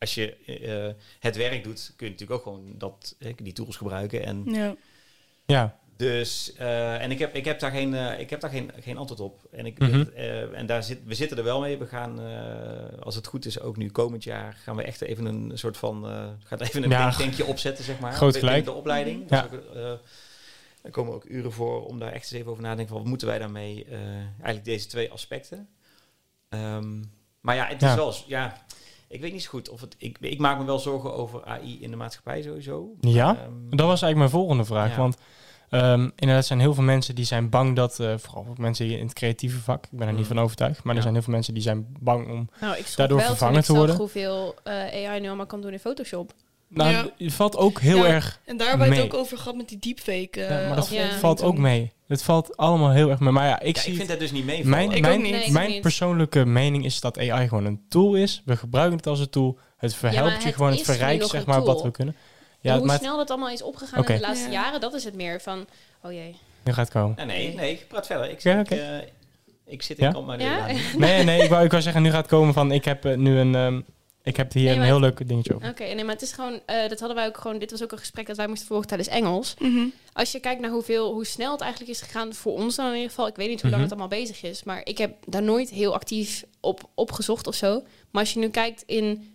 Speaker 1: als je eh, het werk doet, kun je natuurlijk ook gewoon dat, eh, die tools gebruiken. En
Speaker 4: Ja.
Speaker 3: ja.
Speaker 1: dus, eh, en ik heb, ik heb daar, geen, eh, ik heb daar geen, geen antwoord op. En, ik,
Speaker 3: Mhm.
Speaker 1: eh, en daar zit, we zitten er wel mee. We gaan, eh, als het goed is, ook nu komend jaar gaan we echt even een soort van, eh gaat even een
Speaker 3: Ja,
Speaker 1: denk- denkje opzetten, zeg maar.
Speaker 3: groot
Speaker 1: binnen
Speaker 3: gelijk.
Speaker 1: De opleiding.
Speaker 3: Ja.
Speaker 1: Dus ook, eh, er komen ook uren voor om daar echt eens even over na te denken van, wat moeten wij daarmee, eh, eigenlijk deze twee aspecten. Ehm, maar ja, het
Speaker 3: Ja.
Speaker 1: is wel, eens- ja, ik weet niet zo goed of het, ik, ik maak me wel zorgen over AI in de maatschappij sowieso.
Speaker 3: Ja?
Speaker 1: Ehm,
Speaker 3: Dat was eigenlijk mijn volgende vraag.
Speaker 1: Ja.
Speaker 3: Want ehm, inderdaad zijn heel veel mensen die zijn bang dat... eh, vooral ook mensen hier in het creatieve vak. Ik ben er
Speaker 1: Mm.
Speaker 3: niet van overtuigd. Maar
Speaker 1: Ja.
Speaker 3: er zijn heel veel mensen die zijn bang om...
Speaker 2: Nou, ik schrok
Speaker 3: Daardoor
Speaker 2: wel toen
Speaker 3: vervangen
Speaker 2: ik
Speaker 3: te
Speaker 2: zag
Speaker 3: worden.
Speaker 2: hoeveel eh, AI nu allemaal kan doen in Photoshop.
Speaker 3: Nou,
Speaker 4: Ja.
Speaker 3: het valt ook heel
Speaker 4: Ja.
Speaker 3: erg...
Speaker 4: En daar hebben we het
Speaker 3: Nee.
Speaker 4: ook over gehad met die deepfake. eh
Speaker 3: Ja, maar dat
Speaker 4: aflevering
Speaker 3: valt
Speaker 4: toen.
Speaker 3: ook mee. Het valt allemaal heel erg mee. Maar ja, ik
Speaker 1: ja,
Speaker 3: zie...
Speaker 1: ik vind dat dus niet mee.
Speaker 3: Mijn,
Speaker 4: Ik
Speaker 3: mijn,
Speaker 4: ook niet. Nee,
Speaker 2: ik
Speaker 3: mijn
Speaker 2: ook niet.
Speaker 3: persoonlijke mening is dat AI gewoon een tool is. We gebruiken het als een tool. Het verhelpt
Speaker 2: maar
Speaker 3: je
Speaker 2: het
Speaker 3: gewoon, het
Speaker 2: is nu
Speaker 3: verrijkt
Speaker 2: nog
Speaker 3: zeg
Speaker 2: een
Speaker 3: maar wat
Speaker 2: tool.
Speaker 3: we kunnen.
Speaker 2: En
Speaker 3: Ja,
Speaker 2: hoe
Speaker 3: maar het-
Speaker 2: snel dat allemaal is opgegaan
Speaker 3: Oké.
Speaker 2: in de laatste
Speaker 4: Ja.
Speaker 2: jaren, dat is het meer van, oh jee.
Speaker 3: nu gaat het komen.
Speaker 1: <laughs> Nee, nee, nee, praat verder. Ik,
Speaker 3: Ja,
Speaker 1: ik,
Speaker 3: oké.
Speaker 1: eh, ik zit in
Speaker 3: Ja?
Speaker 1: kamp maar
Speaker 2: Ja?
Speaker 1: ja?
Speaker 3: Nee, nee, ik wou, ik wou zeggen, nu gaat het komen van ik heb eh, nu een... ehm, ik heb hier
Speaker 2: Nee,
Speaker 3: een
Speaker 2: maar
Speaker 3: heel leuk dingetje over.
Speaker 2: Oké, nee, maar het is gewoon, eh, dat hadden wij ook gewoon, dit was ook een gesprek dat wij moesten volgen tijdens Engels.
Speaker 4: Mhm.
Speaker 2: Als je kijkt naar hoeveel, hoe snel het eigenlijk is gegaan, voor ons dan in ieder geval, ik weet niet hoe lang
Speaker 3: Mhm.
Speaker 2: het allemaal bezig is, maar ik heb daar nooit heel actief op opgezocht of zo. Maar als je nu kijkt in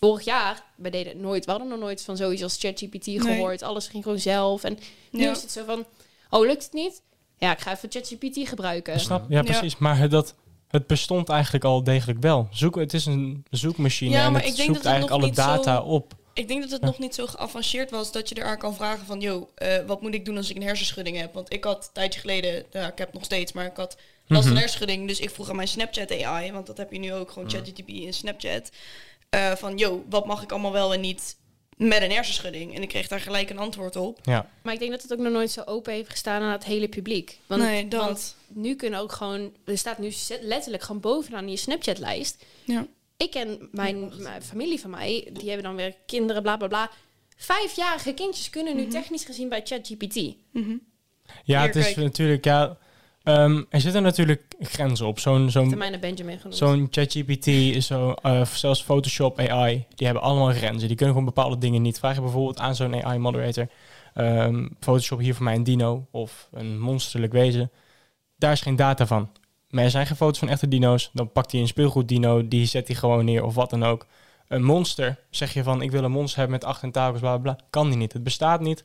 Speaker 2: vorig jaar, we deden het nooit, we hadden nog nooit van zoiets als ChatGPT gehoord, alles ging gewoon zelf. En nu
Speaker 4: Ja.
Speaker 2: is het zo van, oh lukt het niet? Ja, ik ga even ChatGPT gebruiken.
Speaker 3: Snap?
Speaker 1: Mhm.
Speaker 3: Ja,
Speaker 4: Ja.
Speaker 3: precies. Maar het- dat, het bestond eigenlijk al degelijk wel. Zoeken, het is een zoekmachine
Speaker 4: Ja,
Speaker 3: en
Speaker 4: maar
Speaker 3: het
Speaker 4: ik denk
Speaker 3: zoekt
Speaker 4: dat het
Speaker 3: eigenlijk alle
Speaker 4: nog niet zo-
Speaker 3: data op.
Speaker 4: Ik denk dat het
Speaker 3: Ja.
Speaker 4: nog niet zo geavanceerd was dat je eraan kan vragen van... ...joh, eh, wat moet ik doen als ik een hersenschudding heb? Want ik had een tijdje geleden, nou, ik heb het nog steeds, maar ik had
Speaker 3: Mhm.
Speaker 4: last van hersenschudding. Dus ik vroeg aan mijn Snapchat AI, want dat heb je nu ook gewoon ChatGPT in Snapchat. eh, van, joh, wat mag ik allemaal wel en niet met een hersenschudding? En ik kreeg daar gelijk een antwoord op.
Speaker 3: Ja.
Speaker 2: Maar ik denk dat het ook nog nooit zo open heeft gestaan aan het hele publiek. Want,
Speaker 4: nee, dat.
Speaker 2: want nu kunnen ook gewoon... Er staat nu zet- letterlijk gewoon bovenaan je Snapchat-lijst.
Speaker 4: ja.
Speaker 2: Ik ken mijn, mijn familie van mij, die hebben dan weer kinderen, bla bla bla. Vijfjarige kindjes kunnen nu technisch gezien bij ChatGPT.
Speaker 4: Mhm.
Speaker 3: Ja,
Speaker 4: Hier,
Speaker 3: het is
Speaker 4: kijk.
Speaker 3: natuurlijk, ja, ehm, er zitten natuurlijk grenzen op. Zo'n zo'n
Speaker 2: Termijn naar Benjamin genoemd.
Speaker 3: zo'n ChatGPT, zo, eh, of zelfs Photoshop AI, die hebben allemaal grenzen. Die kunnen gewoon bepaalde dingen niet. Vraag je bijvoorbeeld aan zo'n AI-moderator, ehm, Photoshop hier voor mij een dino of een monsterlijk wezen. Daar is geen data van. Maar er zijn geen foto's van echte dino's. Dan pakt hij een speelgoeddino, die zet hij gewoon neer of wat dan ook. Een monster, zeg je van ik wil een monster hebben met acht tentakels, bla bla bla. Kan die niet. Het bestaat niet.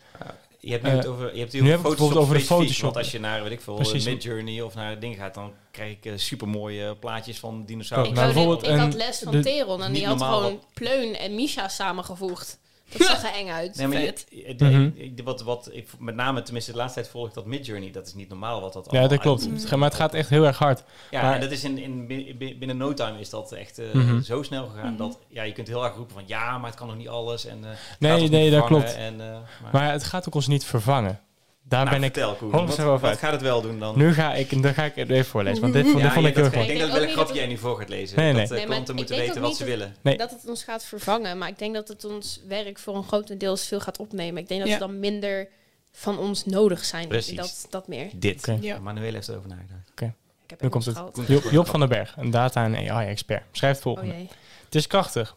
Speaker 1: Je hebt nu
Speaker 3: Eh,
Speaker 1: het over, je hebt nu over
Speaker 3: nu hebben we het bijvoorbeeld
Speaker 1: Photoshop
Speaker 3: over de
Speaker 1: specifiek,
Speaker 3: Photoshop.
Speaker 1: Want als je naar, weet ik veel,
Speaker 3: Precies.
Speaker 1: Midjourney of naar dingen gaat, dan krijg ik super mooie plaatjes van
Speaker 2: ik,
Speaker 1: dinosaurus.
Speaker 3: maar
Speaker 2: wou dit-
Speaker 3: bijvoorbeeld
Speaker 2: ik
Speaker 3: een-
Speaker 2: had les van
Speaker 3: de-
Speaker 2: Teron en
Speaker 1: niet
Speaker 2: die had
Speaker 1: normaal
Speaker 2: gewoon Pleun en Misha samengevoegd. Dat zag er eng uit.
Speaker 1: Nee, maar je-
Speaker 4: vet.
Speaker 1: je-
Speaker 3: Mhm.
Speaker 1: ik- wat, wat ik met name, tenminste de laatste tijd volg ik dat Midjourney, dat is niet normaal wat dat
Speaker 3: Ja,
Speaker 1: allemaal
Speaker 3: dat klopt.
Speaker 1: uitkomt.
Speaker 3: Maar het gaat echt heel erg hard.
Speaker 1: Ja,
Speaker 3: Maar-
Speaker 1: en dat is in, in, bi- bi- binnen no time is dat echt eh,
Speaker 3: Mhm.
Speaker 1: zo snel gegaan
Speaker 4: Mhm.
Speaker 1: dat ja, je kunt heel erg roepen van ja, maar het kan nog niet alles en eh, het
Speaker 3: Nee,
Speaker 1: gaat ons
Speaker 3: nee,
Speaker 1: niet
Speaker 3: dat
Speaker 1: vervangen
Speaker 3: klopt.
Speaker 1: En, eh, maar,
Speaker 3: Maar het gaat ook ons niet vervangen. Daar
Speaker 1: Nou,
Speaker 3: ben ik.
Speaker 1: vertel, Koen,
Speaker 3: honderd
Speaker 1: wat,
Speaker 3: euro
Speaker 1: wat
Speaker 3: uit.
Speaker 1: gaat het wel doen dan?
Speaker 3: Nu ga ik, dan ga ik het even voorlezen. Want dit vond,
Speaker 1: Ja,
Speaker 3: dit Oh, vond
Speaker 1: je
Speaker 3: ik heel
Speaker 1: hebt
Speaker 3: erg
Speaker 1: dat-
Speaker 3: goed.
Speaker 1: Ik denk dat
Speaker 2: Ik denk ook
Speaker 1: welk
Speaker 2: niet
Speaker 1: grapje
Speaker 2: dat
Speaker 1: jij nu voor gaat lezen.
Speaker 3: Nee, nee.
Speaker 1: Dat eh,
Speaker 2: Nee, maar
Speaker 1: klanten
Speaker 2: ik
Speaker 1: moeten
Speaker 2: denk
Speaker 1: weten
Speaker 2: ook
Speaker 1: wat ze
Speaker 2: niet
Speaker 1: willen.
Speaker 3: Nee.
Speaker 2: Dat het ons gaat vervangen. Maar ik denk dat het ons werk voor een grotendeels veel gaat opnemen. Ik denk dat
Speaker 4: Ja.
Speaker 2: ze dan minder van ons nodig zijn.
Speaker 1: Precies.
Speaker 2: Dat, dat meer.
Speaker 1: Dit.
Speaker 3: Oké.
Speaker 4: Ja.
Speaker 1: Manuel heeft erover nagedacht.
Speaker 2: Ik heb
Speaker 3: Nu
Speaker 2: het
Speaker 3: komt het.
Speaker 2: opgehaald.
Speaker 3: Job, Job van den Berg, een data- en AI-expert, schrijft het
Speaker 2: Oh
Speaker 3: volgende.
Speaker 2: jee.
Speaker 3: Het is krachtig.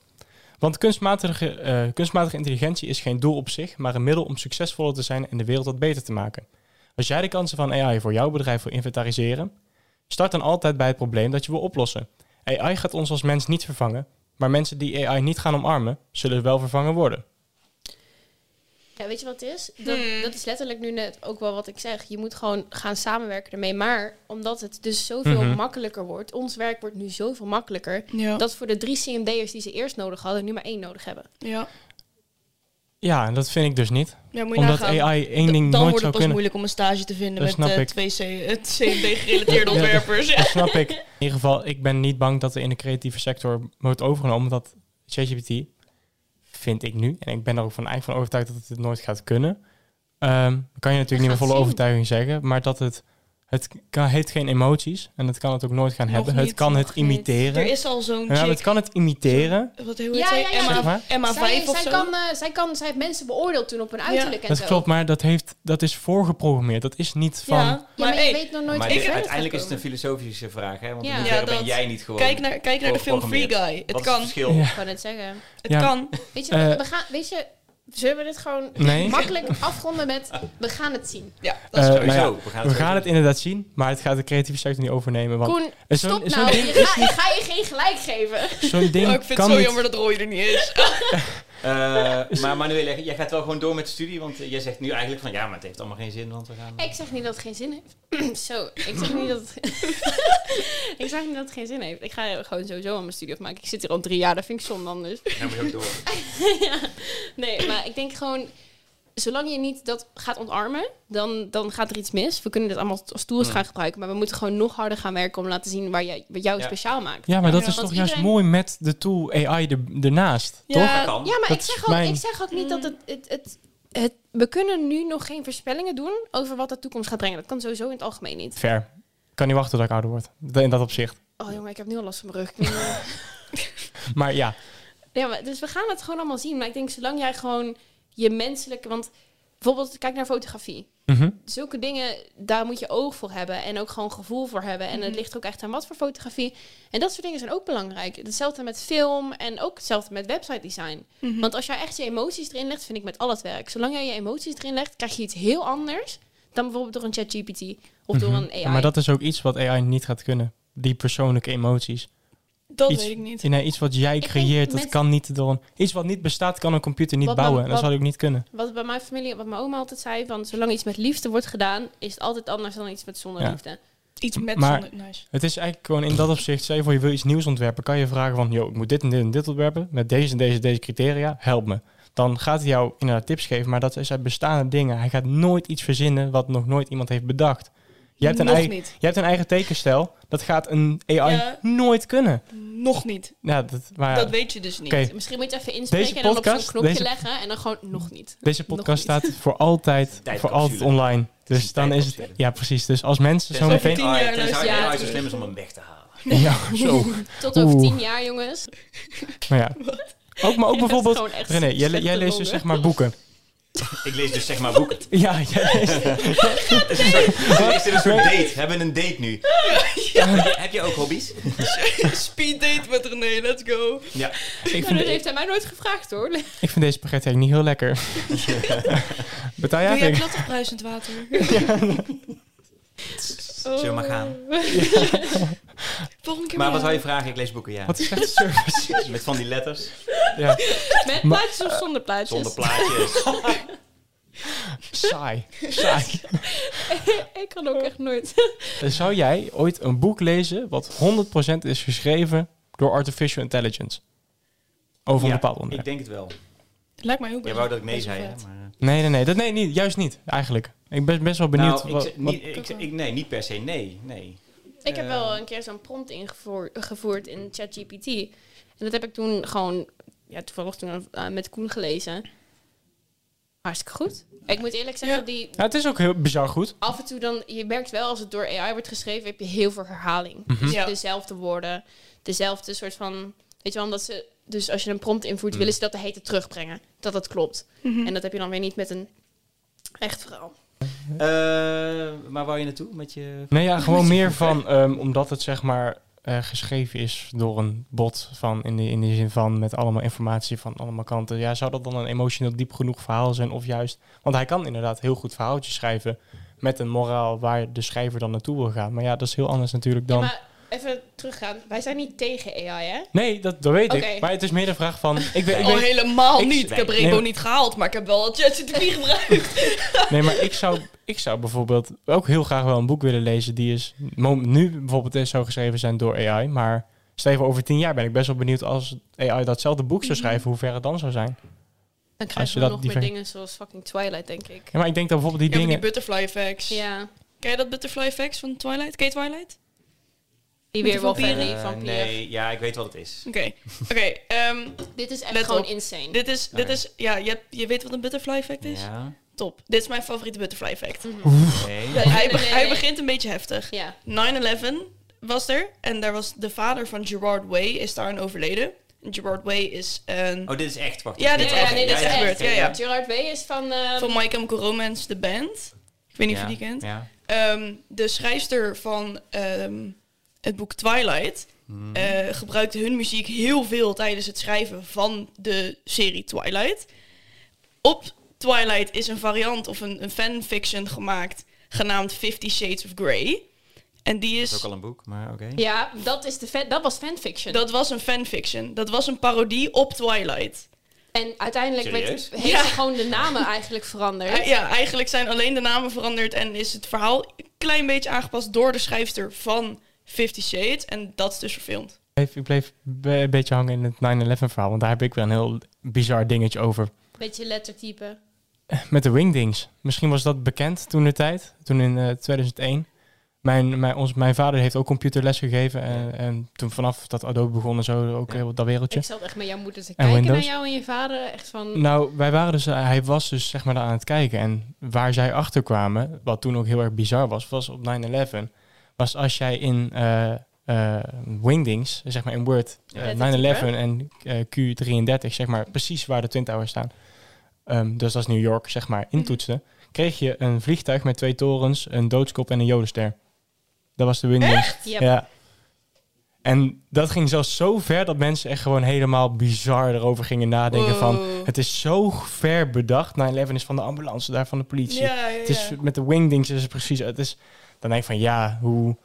Speaker 3: Want kunstmatige, eh, kunstmatige intelligentie is geen doel op zich, maar een middel om succesvoller te zijn en de wereld wat beter te maken. Als jij de kansen van AI voor jouw bedrijf wil inventariseren, start dan altijd bij het probleem dat je wil oplossen. AI gaat ons als mens niet vervangen, maar mensen die AI niet gaan omarmen, zullen wel vervangen worden.
Speaker 2: Ja, weet je wat het is? Dat,
Speaker 4: Hmm.
Speaker 2: dat is letterlijk nu net ook wel wat ik zeg. Je moet gewoon gaan samenwerken ermee. Maar omdat het dus zoveel
Speaker 3: Mhm.
Speaker 2: makkelijker wordt, ons werk wordt nu zoveel makkelijker,
Speaker 4: Ja.
Speaker 2: dat voor de drie CMD'ers die ze eerst nodig hadden, nu maar één nodig hebben.
Speaker 4: ja.
Speaker 3: Ja, en dat vind ik dus niet.
Speaker 4: ja moet je
Speaker 3: Omdat
Speaker 4: nagaan.
Speaker 3: AI één
Speaker 4: D-
Speaker 3: ding
Speaker 4: dan
Speaker 3: nooit
Speaker 4: wordt het
Speaker 3: zou
Speaker 4: pas
Speaker 3: kunnen.
Speaker 4: moeilijk om een stage te vinden
Speaker 3: Dat
Speaker 4: met
Speaker 3: snap
Speaker 4: eh,
Speaker 3: ik.
Speaker 4: twee C- eh, CMD-gerelateerde
Speaker 3: Ja, dat-
Speaker 4: ontwerpers. Ja.
Speaker 3: Dat snap ik. In ieder geval, ik ben niet bang dat er in de creatieve sector wordt overgenomen. Omdat ChatGPT, vind ik nu, en ik ben er ook van, eigenlijk van overtuigd dat het dit nooit gaat kunnen. Ehm, kan je natuurlijk niet
Speaker 2: gaan
Speaker 3: met volle
Speaker 2: zien.
Speaker 3: overtuiging zeggen. Maar dat het, het kan, heeft geen emoties. En het kan het ook nooit gaan
Speaker 4: Nog
Speaker 3: hebben. het
Speaker 4: niet,
Speaker 3: kan het
Speaker 2: nog niet.
Speaker 4: <laughs> Er
Speaker 3: imiteren.
Speaker 4: is al zo'n
Speaker 3: Ja, maar
Speaker 4: chick.
Speaker 3: het kan het imiteren.
Speaker 4: Wat hoe heet
Speaker 2: Ja,
Speaker 4: zij?
Speaker 2: ja, ja,
Speaker 4: Emma,
Speaker 3: Zeg maar.
Speaker 4: Emma
Speaker 2: zij,
Speaker 4: 5 of
Speaker 2: zij
Speaker 4: zo.
Speaker 2: Kan, eh, zij, kan, zij heeft mensen beoordeeld toen op hun uiterlijk en
Speaker 3: Dat
Speaker 2: zo.
Speaker 3: klopt, maar dat, heeft, dat is voorgeprogrammeerd. Dat is niet van...
Speaker 4: ja,
Speaker 2: Ja, maar
Speaker 4: maar hey,
Speaker 2: je weet nog nooit
Speaker 1: Maar
Speaker 2: hoe
Speaker 1: dit-
Speaker 4: ik-
Speaker 2: ver het
Speaker 1: uiteindelijk
Speaker 2: gaat
Speaker 1: is het een
Speaker 2: komen.
Speaker 1: filosofische vraag, hè? Want
Speaker 2: Ja.
Speaker 1: in hoeverre
Speaker 4: Ja,
Speaker 1: ben
Speaker 4: dat-
Speaker 1: jij niet gewoon...
Speaker 4: kijk naar, kijk naar de film Free
Speaker 1: geprogrammeerd.
Speaker 4: Guy.
Speaker 1: Wat
Speaker 4: Het
Speaker 1: is het
Speaker 4: kan.
Speaker 1: verschil?
Speaker 3: Ja. eh,
Speaker 2: Ik kan het zeggen.
Speaker 4: Het
Speaker 3: Ja.
Speaker 4: kan.
Speaker 2: Weet je,
Speaker 3: Eh.
Speaker 2: we gaan, weet je, zullen we dit gewoon
Speaker 3: <laughs> Nee.
Speaker 2: makkelijk afronden met we gaan het zien.
Speaker 4: Ja, dat is
Speaker 3: Eh,
Speaker 4: waar.
Speaker 1: Sowieso,
Speaker 3: nou ja,
Speaker 1: we gaan het
Speaker 3: We gaan
Speaker 1: sowieso
Speaker 3: het inderdaad zien, maar het gaat de creatieve sector niet overnemen. Want
Speaker 2: Koen,
Speaker 3: eh, zo'n-
Speaker 2: stop
Speaker 3: zo'n
Speaker 2: nou.
Speaker 3: ding-
Speaker 2: Je ga, ik ga je geen gelijk geven.
Speaker 3: Zo'n ding
Speaker 4: Oh, ik vind
Speaker 3: Eh, kan
Speaker 4: het zo
Speaker 3: niet.
Speaker 4: jammer dat Roy er niet is.
Speaker 1: Eh, maar Manuel, jij gaat wel gewoon door met de studie, want eh, jij zegt nu eigenlijk van ja, maar het heeft allemaal geen zin, want we gaan...
Speaker 2: Ik zeg niet dat het geen zin heeft. <clears throat> zo, ik zeg niet dat het, ik zeg niet dat het geen zin heeft. Ik ga gewoon sowieso aan mijn studie afmaken. Ik zit hier al drie jaar, dat vind ik zonde anders.
Speaker 1: Dan moet je ook door.
Speaker 2: ja. Nee, maar ik denk gewoon... Zolang je niet dat gaat ontarmen, dan, dan gaat er iets mis. We kunnen dit allemaal als tools
Speaker 1: Hmm.
Speaker 2: gaan gebruiken. Maar we moeten gewoon nog harder gaan werken om laten zien waar jij, wat jou
Speaker 1: Ja.
Speaker 2: speciaal maakt.
Speaker 3: Ja, maar dat
Speaker 4: Ja,
Speaker 3: is
Speaker 2: want
Speaker 3: toch juist
Speaker 2: iedereen-
Speaker 3: mooi met de tool AI er- ernaast,
Speaker 1: Dat
Speaker 3: toch?
Speaker 4: Ja,
Speaker 1: kan.
Speaker 2: Ja, maar
Speaker 3: Dat
Speaker 2: ik
Speaker 3: is
Speaker 2: zeg, ook,
Speaker 3: mijn-
Speaker 2: ik zeg ook niet dat het, het, het, het- We kunnen nu nog geen voorspellingen doen over wat de toekomst gaat brengen. Dat kan sowieso in het algemeen niet.
Speaker 3: Ver. Kan niet wachten tot ik ouder word. D- In dat opzicht.
Speaker 2: Oh jongen, ik heb nu al last van mijn rug. Ik weet niet meer.
Speaker 3: Maar ja,
Speaker 2: Ja, maar, dus we gaan het gewoon allemaal zien. Maar ik denk, zolang jij gewoon je menselijke... Want bijvoorbeeld, kijk naar fotografie.
Speaker 3: mhm.
Speaker 2: Zulke dingen, daar moet je oog voor hebben. En ook gewoon gevoel voor hebben. En het
Speaker 4: Mhm.
Speaker 2: ligt ook echt aan wat voor fotografie. En dat soort dingen zijn ook belangrijk. Hetzelfde met film en ook hetzelfde met website design.
Speaker 4: Mhm.
Speaker 2: Want als jij echt je emoties erin legt, vind ik met al het werk. Zolang jij je emoties erin legt, krijg je iets heel anders... dan bijvoorbeeld door een ChatGPT of door
Speaker 3: Mhm.
Speaker 2: een AI.
Speaker 3: maar dat is ook iets wat AI niet gaat kunnen. Die persoonlijke emoties.
Speaker 4: <laughs> dat
Speaker 3: iets-
Speaker 4: weet ik niet.
Speaker 3: Nee, iets wat jij
Speaker 2: denk
Speaker 3: creëert, dat
Speaker 2: met-
Speaker 3: kan niet door een... Iets wat niet bestaat, kan een computer niet
Speaker 2: Wat dan-
Speaker 3: bouwen. en dat
Speaker 2: wat-
Speaker 3: zou ik niet kunnen.
Speaker 2: Wat bij mijn familie, wat mijn oma altijd zei, van zolang iets met liefde wordt gedaan, is het altijd anders dan iets met zonder
Speaker 3: Ja.
Speaker 2: liefde.
Speaker 4: Iets met
Speaker 3: Maar-
Speaker 4: zonder... Nice.
Speaker 3: Het is eigenlijk gewoon in dat opzicht, stel je voor je wil iets nieuws ontwerpen, kan je vragen van, joh, ik moet dit en dit en dit ontwerpen, met deze en deze en deze criteria, help me. Dan gaat hij jou inderdaad tips geven, maar dat is uit bestaande dingen. Hij gaat nooit iets verzinnen wat nog nooit iemand heeft bedacht. Je hebt een,
Speaker 4: Nog
Speaker 3: eigen,
Speaker 4: niet.
Speaker 3: je hebt een eigen tekenstijl, dat gaat een AI
Speaker 4: Ja.
Speaker 3: nooit kunnen.
Speaker 4: Nog niet.
Speaker 3: Ja, dat, maar
Speaker 4: Dat weet je dus niet.
Speaker 3: Oké.
Speaker 2: Misschien moet je even inspreken
Speaker 3: Deze
Speaker 2: en dan op
Speaker 3: podcast-
Speaker 2: zo'n knopje
Speaker 3: deze-
Speaker 2: leggen en dan gewoon nog niet.
Speaker 3: deze
Speaker 2: nog
Speaker 3: podcast
Speaker 2: niet.
Speaker 3: staat voor altijd, voor
Speaker 1: Tijdcapsule.
Speaker 3: altijd online.
Speaker 1: is
Speaker 3: Dus
Speaker 1: een
Speaker 3: dan is het,
Speaker 1: tijdcapsule.
Speaker 3: ja precies, dus als mensen zo
Speaker 1: Tenzij
Speaker 4: meteen-
Speaker 1: AI-
Speaker 4: Tien jaar
Speaker 1: Tenzij
Speaker 2: luisteren.
Speaker 1: AI zo
Speaker 2: Ja.
Speaker 1: slim is om hem weg te halen.
Speaker 3: <laughs> Ja, zo.
Speaker 2: Tot over
Speaker 3: Oeh.
Speaker 2: tien jaar, jongens.
Speaker 3: Nou
Speaker 4: <laughs>
Speaker 3: ja. Ook, maar ook bijvoorbeeld,
Speaker 2: gewoon echt
Speaker 3: René, jij,
Speaker 2: slechte
Speaker 3: jij leest dus
Speaker 2: longen.
Speaker 3: zeg maar boeken.
Speaker 1: Ik lees dus zeg maar
Speaker 2: <laughs>
Speaker 1: boeken.
Speaker 3: Ja, jij leest
Speaker 1: Het is een soort- <laughs> is dit een soort date? We hebben een date
Speaker 2: <laughs>
Speaker 1: nu. Heb, je, heb je ook hobby's?
Speaker 4: Speed date met René, let's go.
Speaker 1: Ja.
Speaker 3: Ik
Speaker 2: Maar
Speaker 3: vind,
Speaker 2: dat heeft hij mij nooit gevraagd
Speaker 3: <laughs>
Speaker 2: hoor.
Speaker 3: ik vind deze spaghetti eigenlijk niet heel
Speaker 1: <laughs>
Speaker 3: lekker. Betaal jij
Speaker 4: Wil jij
Speaker 3: eigenlijk?
Speaker 4: plat of bruisend water?
Speaker 2: Oh.
Speaker 1: Zullen we maar gaan?
Speaker 4: <laughs> Volgende keer
Speaker 1: Maar
Speaker 4: maar
Speaker 1: wat wou je vragen? Ik lees boeken, ja.
Speaker 3: Wat is slechte service?
Speaker 1: Met van die letters.
Speaker 3: Ja,
Speaker 2: Met
Speaker 3: Maar-
Speaker 2: plaatjes of zonder plaatjes?
Speaker 1: Zonder plaatjes.
Speaker 3: saai. saai. Dus
Speaker 2: ik kan ook echt
Speaker 3: <laughs>
Speaker 2: nooit.
Speaker 3: Zou jij ooit een boek lezen wat 100% is geschreven door artificial intelligence? <laughs> Over
Speaker 1: Ja,
Speaker 3: een bepaald
Speaker 1: Ik
Speaker 3: onderwerp.
Speaker 1: denk het wel.
Speaker 4: Lijkt mij heel
Speaker 1: Jij
Speaker 4: best-
Speaker 1: wou dat ik mee
Speaker 4: best wel
Speaker 1: zei, hè?
Speaker 4: vet.
Speaker 1: Maar, eh.
Speaker 3: Nee, nee, nee, dat, nee niet, juist niet, eigenlijk. Ik ben best wel benieuwd.
Speaker 1: Nou, ik
Speaker 3: wat-
Speaker 1: zeg-
Speaker 3: wat-
Speaker 1: niet, ik, zeg- ik, nee, niet per se. Nee, nee.
Speaker 2: Ik heb
Speaker 1: Eh.
Speaker 2: wel een keer zo'n prompt ingevoerd gevoerd in ChatGPT. En dat heb ik toen gewoon, ja, toevallig toen eh, met Koen gelezen. Hartstikke goed. Ik moet eerlijk zeggen,
Speaker 4: Ja.
Speaker 2: die,
Speaker 3: Ja, het is ook heel bizar goed.
Speaker 2: af en toe dan, je merkt wel als het door AI wordt geschreven, heb je heel veel herhaling.
Speaker 3: Mhm.
Speaker 2: Dus
Speaker 4: Ja.
Speaker 2: dezelfde woorden, dezelfde soort van, weet je wel, omdat ze, dus als je een prompt
Speaker 3: Mhm.
Speaker 2: invoert, willen ze dat de hete terugbrengen. Dat dat klopt. En dat heb je dan weer niet met een echt verhaal.
Speaker 3: Hm?
Speaker 1: Eh, maar waar je naartoe met je...
Speaker 3: Nee, ja, gewoon meer van, ehm, omdat het zeg maar eh, geschreven is door een bot van, in de, in de zin van met allemaal informatie van allemaal kanten. Ja, zou dat dan een emotioneel diep genoeg verhaal zijn of juist... Want hij kan inderdaad heel goed verhaaltjes schrijven met een moraal waar de schrijver dan naartoe wil gaan. Maar ja, dat is heel anders natuurlijk dan...
Speaker 2: maar even teruggaan. Wij zijn niet tegen AI, hè?
Speaker 3: Nee, dat, dat weet
Speaker 2: Oké.
Speaker 3: ik. Maar het is meer de vraag van... Ik weet, ik
Speaker 4: Oh,
Speaker 3: weet,
Speaker 4: helemaal
Speaker 1: ik-
Speaker 4: niet. Ik heb
Speaker 1: nee,
Speaker 4: Rebo
Speaker 3: maar-
Speaker 4: niet gehaald, maar ik heb wel ChatGPT
Speaker 3: <laughs>
Speaker 4: gebruikt.
Speaker 3: Nee, maar ik zou, ik zou bijvoorbeeld ook heel graag wel een boek willen lezen die is mo- nu bijvoorbeeld is zo geschreven zijn door AI. Maar stel even over tien jaar ben ik best wel benieuwd als AI datzelfde boek zou schrijven, hoe ver het dan zou zijn.
Speaker 2: Dan
Speaker 3: Als je
Speaker 2: krijgen we
Speaker 3: dat
Speaker 2: nog meer
Speaker 3: diver-
Speaker 2: dingen zoals fucking Twilight, denk ik.
Speaker 3: Ja, maar ik denk dat bijvoorbeeld
Speaker 4: Ja,
Speaker 3: die dingen.
Speaker 4: maar die butterfly effects.
Speaker 2: Ja,
Speaker 4: Ken je dat butterfly effects van Twilight? Ken je Twilight?
Speaker 2: die
Speaker 4: Met
Speaker 2: weer
Speaker 4: die
Speaker 2: wel
Speaker 4: vampieren?
Speaker 2: verder van
Speaker 1: eh, nee, ja, ik weet wat het is.
Speaker 4: Oké,
Speaker 3: <laughs>
Speaker 4: oké. ehm,
Speaker 2: Dit is echt
Speaker 4: Let
Speaker 2: gewoon
Speaker 4: op.
Speaker 2: insane.
Speaker 4: dit is, dit
Speaker 1: Oké.
Speaker 4: is, ja, je, hebt- je weet wat een butterfly effect is?
Speaker 1: Ja,
Speaker 4: Top. Dit is mijn favoriete butterfly effect.
Speaker 1: nee.
Speaker 2: Nee,
Speaker 4: Hij,
Speaker 2: nee,
Speaker 4: be-
Speaker 2: nee,
Speaker 4: hij
Speaker 2: nee.
Speaker 4: begint een beetje heftig.
Speaker 2: Ja.
Speaker 4: 9-11 was er. En daar was de vader van Gerard Way is daar aan overleden. En Gerard Way is een...
Speaker 1: Oh, dit is echt. Wacht.
Speaker 4: Ja,
Speaker 1: even.
Speaker 4: dit is
Speaker 2: Ja,
Speaker 4: echt.
Speaker 2: nee, dit is echt.
Speaker 4: gebeurd.
Speaker 1: oké,
Speaker 4: Ja, ja.
Speaker 2: Gerard Way is van... ehm,
Speaker 4: van Michael Romance, de band. Ik weet niet of je die
Speaker 1: Ja,
Speaker 4: kent.
Speaker 1: Ja.
Speaker 4: Ehm, de schrijfster van ehm, het boek Twilight
Speaker 3: Mhm.
Speaker 4: eh, gebruikte hun muziek heel veel tijdens het schrijven van de serie Twilight. Op Twilight is een variant of een, een fanfiction gemaakt genaamd Fifty Shades of Grey. En die
Speaker 1: Dat is ook
Speaker 4: is.
Speaker 1: al een boek, maar oké.
Speaker 2: ja, dat, is de fan, dat was fanfiction.
Speaker 4: Dat was een fanfiction. Dat was een parodie op Twilight.
Speaker 2: en uiteindelijk werd,
Speaker 1: Serieus?
Speaker 2: <laughs> heeft
Speaker 4: Ja.
Speaker 2: ze gewoon de namen eigenlijk veranderd.
Speaker 4: Eh, Ja, eigenlijk zijn alleen de namen veranderd en is het verhaal een klein beetje aangepast door de schrijfster van Fifty Shades. En dat is dus verfilmd.
Speaker 3: Ik bleef- Ik bleef be- een beetje hangen in het 9-11 verhaal, want daar heb ik weer een heel bizar dingetje over.
Speaker 2: Beetje lettertype.
Speaker 3: Met de Wingdings. Misschien was dat bekend toen de tijd, toen in eh, 2001. Mijn, mijn, ons, mijn vader heeft ook computerles gegeven. En, en toen vanaf dat Adobe begon en zo, ook
Speaker 1: Ja.
Speaker 3: heel dat wereldje.
Speaker 2: Ik zat echt met jouw moeder te
Speaker 3: En
Speaker 2: kijken
Speaker 3: Windows?
Speaker 2: naar jou en je vader. Echt van...
Speaker 3: Nou, wij waren dus, eh, hij was dus zeg maar daar aan het kijken. En waar zij achter kwamen, wat toen ook heel erg bizar was, was op 9-11. Was als jij in eh, eh, Wingdings, zeg maar in Word, eh,
Speaker 2: Ja, dat
Speaker 3: 9-11 en eh, Q33, zeg maar precies waar de Twin Towers staan. ehm, dus dat is New York, zeg maar,
Speaker 2: Mhm.
Speaker 3: intoetsen. Kreeg je een vliegtuig met twee torens, een doodskop en een jodenster. Dat was de Wingdings.
Speaker 2: <laughs> ja.
Speaker 3: Ja. En dat ging zelfs zo ver dat mensen echt gewoon helemaal bizar erover gingen nadenken van...
Speaker 4: Wow.
Speaker 3: Het is zo ver bedacht. 9-11 is van de ambulance, daar van de politie.
Speaker 4: Ja, ja,
Speaker 3: Het is
Speaker 4: ja.
Speaker 3: met de wingdings is het precies... Het is, dan denk ik van, ja, hoe...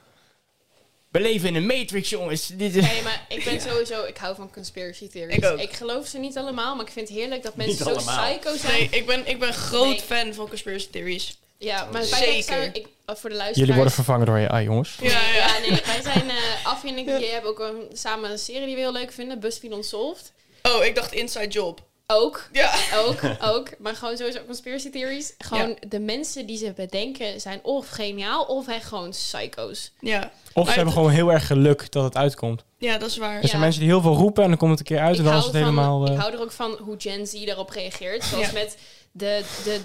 Speaker 3: We leven in een matrix, jongens. Dit is...
Speaker 2: Nee, maar ik ben sowieso... Ik hou van conspiracy theories.
Speaker 4: Ik ook.
Speaker 2: geloof ze niet allemaal, maar ik vind het heerlijk dat
Speaker 1: Niet
Speaker 2: mensen zo
Speaker 1: allemaal.
Speaker 2: psycho zijn.
Speaker 4: Nee, ik ben, ik ben groot
Speaker 2: Nee.
Speaker 4: fan van conspiracy theories.
Speaker 2: Ja, maar wij
Speaker 4: Zeker.
Speaker 2: zijn... Ik, oh, voor de luisteraars...
Speaker 3: Jullie worden vervangen door AI, jongens.
Speaker 4: Ja, ja.
Speaker 2: Ja, nee, wij zijn... eh Af en ik jij hebt ook een, samen een serie die we heel leuk vinden. BuzzFeed Unsolved.
Speaker 4: Oh, ik dacht Inside Job.
Speaker 2: Ook.
Speaker 4: Ja.
Speaker 2: Ook, ook. Maar gewoon sowieso conspiracy theories. Gewoon de mensen die ze bedenken zijn of geniaal of echt gewoon psycho's.
Speaker 4: Ja,
Speaker 3: Of ze
Speaker 4: Maar
Speaker 3: hebben
Speaker 4: het-
Speaker 3: gewoon heel erg geluk dat het uitkomt.
Speaker 4: ja dat is waar.
Speaker 3: Er
Speaker 2: Ja.
Speaker 3: zijn mensen die heel veel roepen en dan komt het een keer uit en dan is
Speaker 2: hou
Speaker 3: het
Speaker 2: ervan-
Speaker 3: helemaal... eh,
Speaker 2: ik
Speaker 3: <laughs>
Speaker 2: hou er ook van hoe Gen Z daarop reageert. Zoals
Speaker 4: Ja.
Speaker 2: met de, de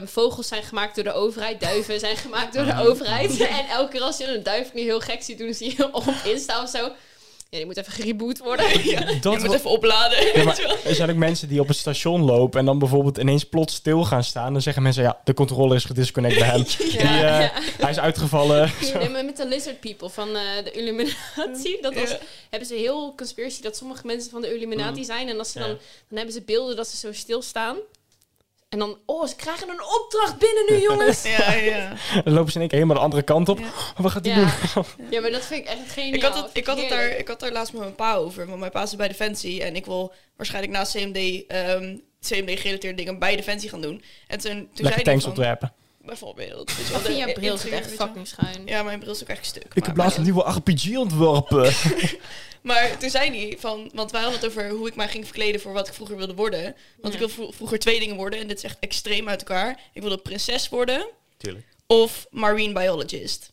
Speaker 2: eh, vogels zijn gemaakt door de overheid, duiven zijn gemaakt door de overheid. <laughs> En elke keer als je een duif nu heel gek ziet doen, zie je op Insta of zo. Ja, die moet even gereboot worden.
Speaker 4: je
Speaker 3: dat
Speaker 4: moet
Speaker 3: wa-
Speaker 4: even opladen.
Speaker 3: Ja,
Speaker 4: weet je wel.
Speaker 3: maar er zijn ook mensen die op het station lopen en dan bijvoorbeeld ineens plots stil gaan staan. Dan zeggen mensen, ja, de controller is gedisconnect
Speaker 4: <laughs>
Speaker 3: bij hem. Die,
Speaker 2: <laughs>
Speaker 3: eh,
Speaker 2: ja.
Speaker 3: Hij is uitgevallen.
Speaker 2: Nee, maar met de lizard people van eh, de Illuminati. Dat was,
Speaker 4: Ja.
Speaker 2: hebben ze heel conspiracy dat sommige mensen van de Illuminati zijn. En als ze
Speaker 1: Ja.
Speaker 2: dan, dan hebben ze beelden dat ze zo stilstaan. En dan, oh, ze krijgen een opdracht binnen nu,
Speaker 4: <laughs>
Speaker 2: jongens.
Speaker 4: Ja, ja.
Speaker 3: Dan lopen ze in één keer helemaal de andere kant op.
Speaker 4: Ja.
Speaker 3: Oh, wat gaat die
Speaker 2: Ja.
Speaker 3: doen?
Speaker 2: Ja, maar dat vind ik echt geniaal.
Speaker 4: Ik had, het, ik, had het daar,
Speaker 2: Heerlijk.
Speaker 4: ik had daar laatst met mijn pa over. Want mijn pa zit bij Defensie. En ik wil waarschijnlijk na CMD... ehm, CMD-gerelateerde dingen bij Defensie gaan doen. En toen, toen
Speaker 3: Lekker
Speaker 4: zei hij
Speaker 3: tanks
Speaker 4: van...
Speaker 3: ontwerpen.
Speaker 4: Bijvoorbeeld. weet je wel,
Speaker 2: Of in
Speaker 4: de
Speaker 2: jouw bril zit
Speaker 4: interieur,
Speaker 2: echt
Speaker 4: weet je wel.
Speaker 2: fucking schuin.
Speaker 4: Ja, mijn bril is ook echt stuk.
Speaker 3: Ik
Speaker 4: maar-
Speaker 3: heb laatst een
Speaker 4: maar-
Speaker 3: nieuwe RPG
Speaker 4: <laughs>
Speaker 3: ontworpen.
Speaker 4: Maar toen zei hij van, want wij hadden het over hoe ik mij ging verkleden voor wat ik vroeger wilde worden. Want ik
Speaker 2: Ja.
Speaker 4: wil vro- vroeger twee dingen worden en dit is echt extreem uit elkaar. Ik wilde prinses worden
Speaker 1: Tuurlijk.
Speaker 4: of marine biologist.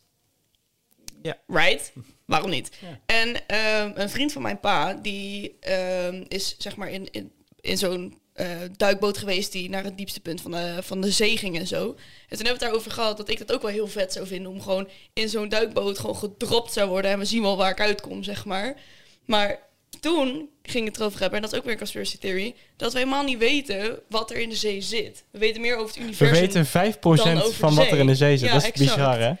Speaker 1: Ja.
Speaker 4: Right? Waarom niet?
Speaker 1: Ja.
Speaker 4: En ehm, een vriend van mijn pa, die ehm, is zeg maar in, in, in zo'n eh, duikboot geweest die naar het diepste punt van de, van de zee ging en zo. En toen hebben we het daarover gehad dat ik dat ook wel heel vet zou vinden om gewoon in zo'n duikboot gewoon gedropt zou worden en we zien wel waar ik uitkom, zeg maar. Maar toen ging het erover hebben, en dat is ook weer een conspiracy theory, dat we helemaal niet weten wat er in de zee zit. We weten meer over het
Speaker 3: We
Speaker 4: universum.
Speaker 3: weten 5%
Speaker 4: Dan over
Speaker 3: van
Speaker 4: de
Speaker 3: wat er
Speaker 4: zee.
Speaker 3: in de zee zit.
Speaker 4: Ja,
Speaker 3: dat is
Speaker 4: exact.
Speaker 3: bizar, hè?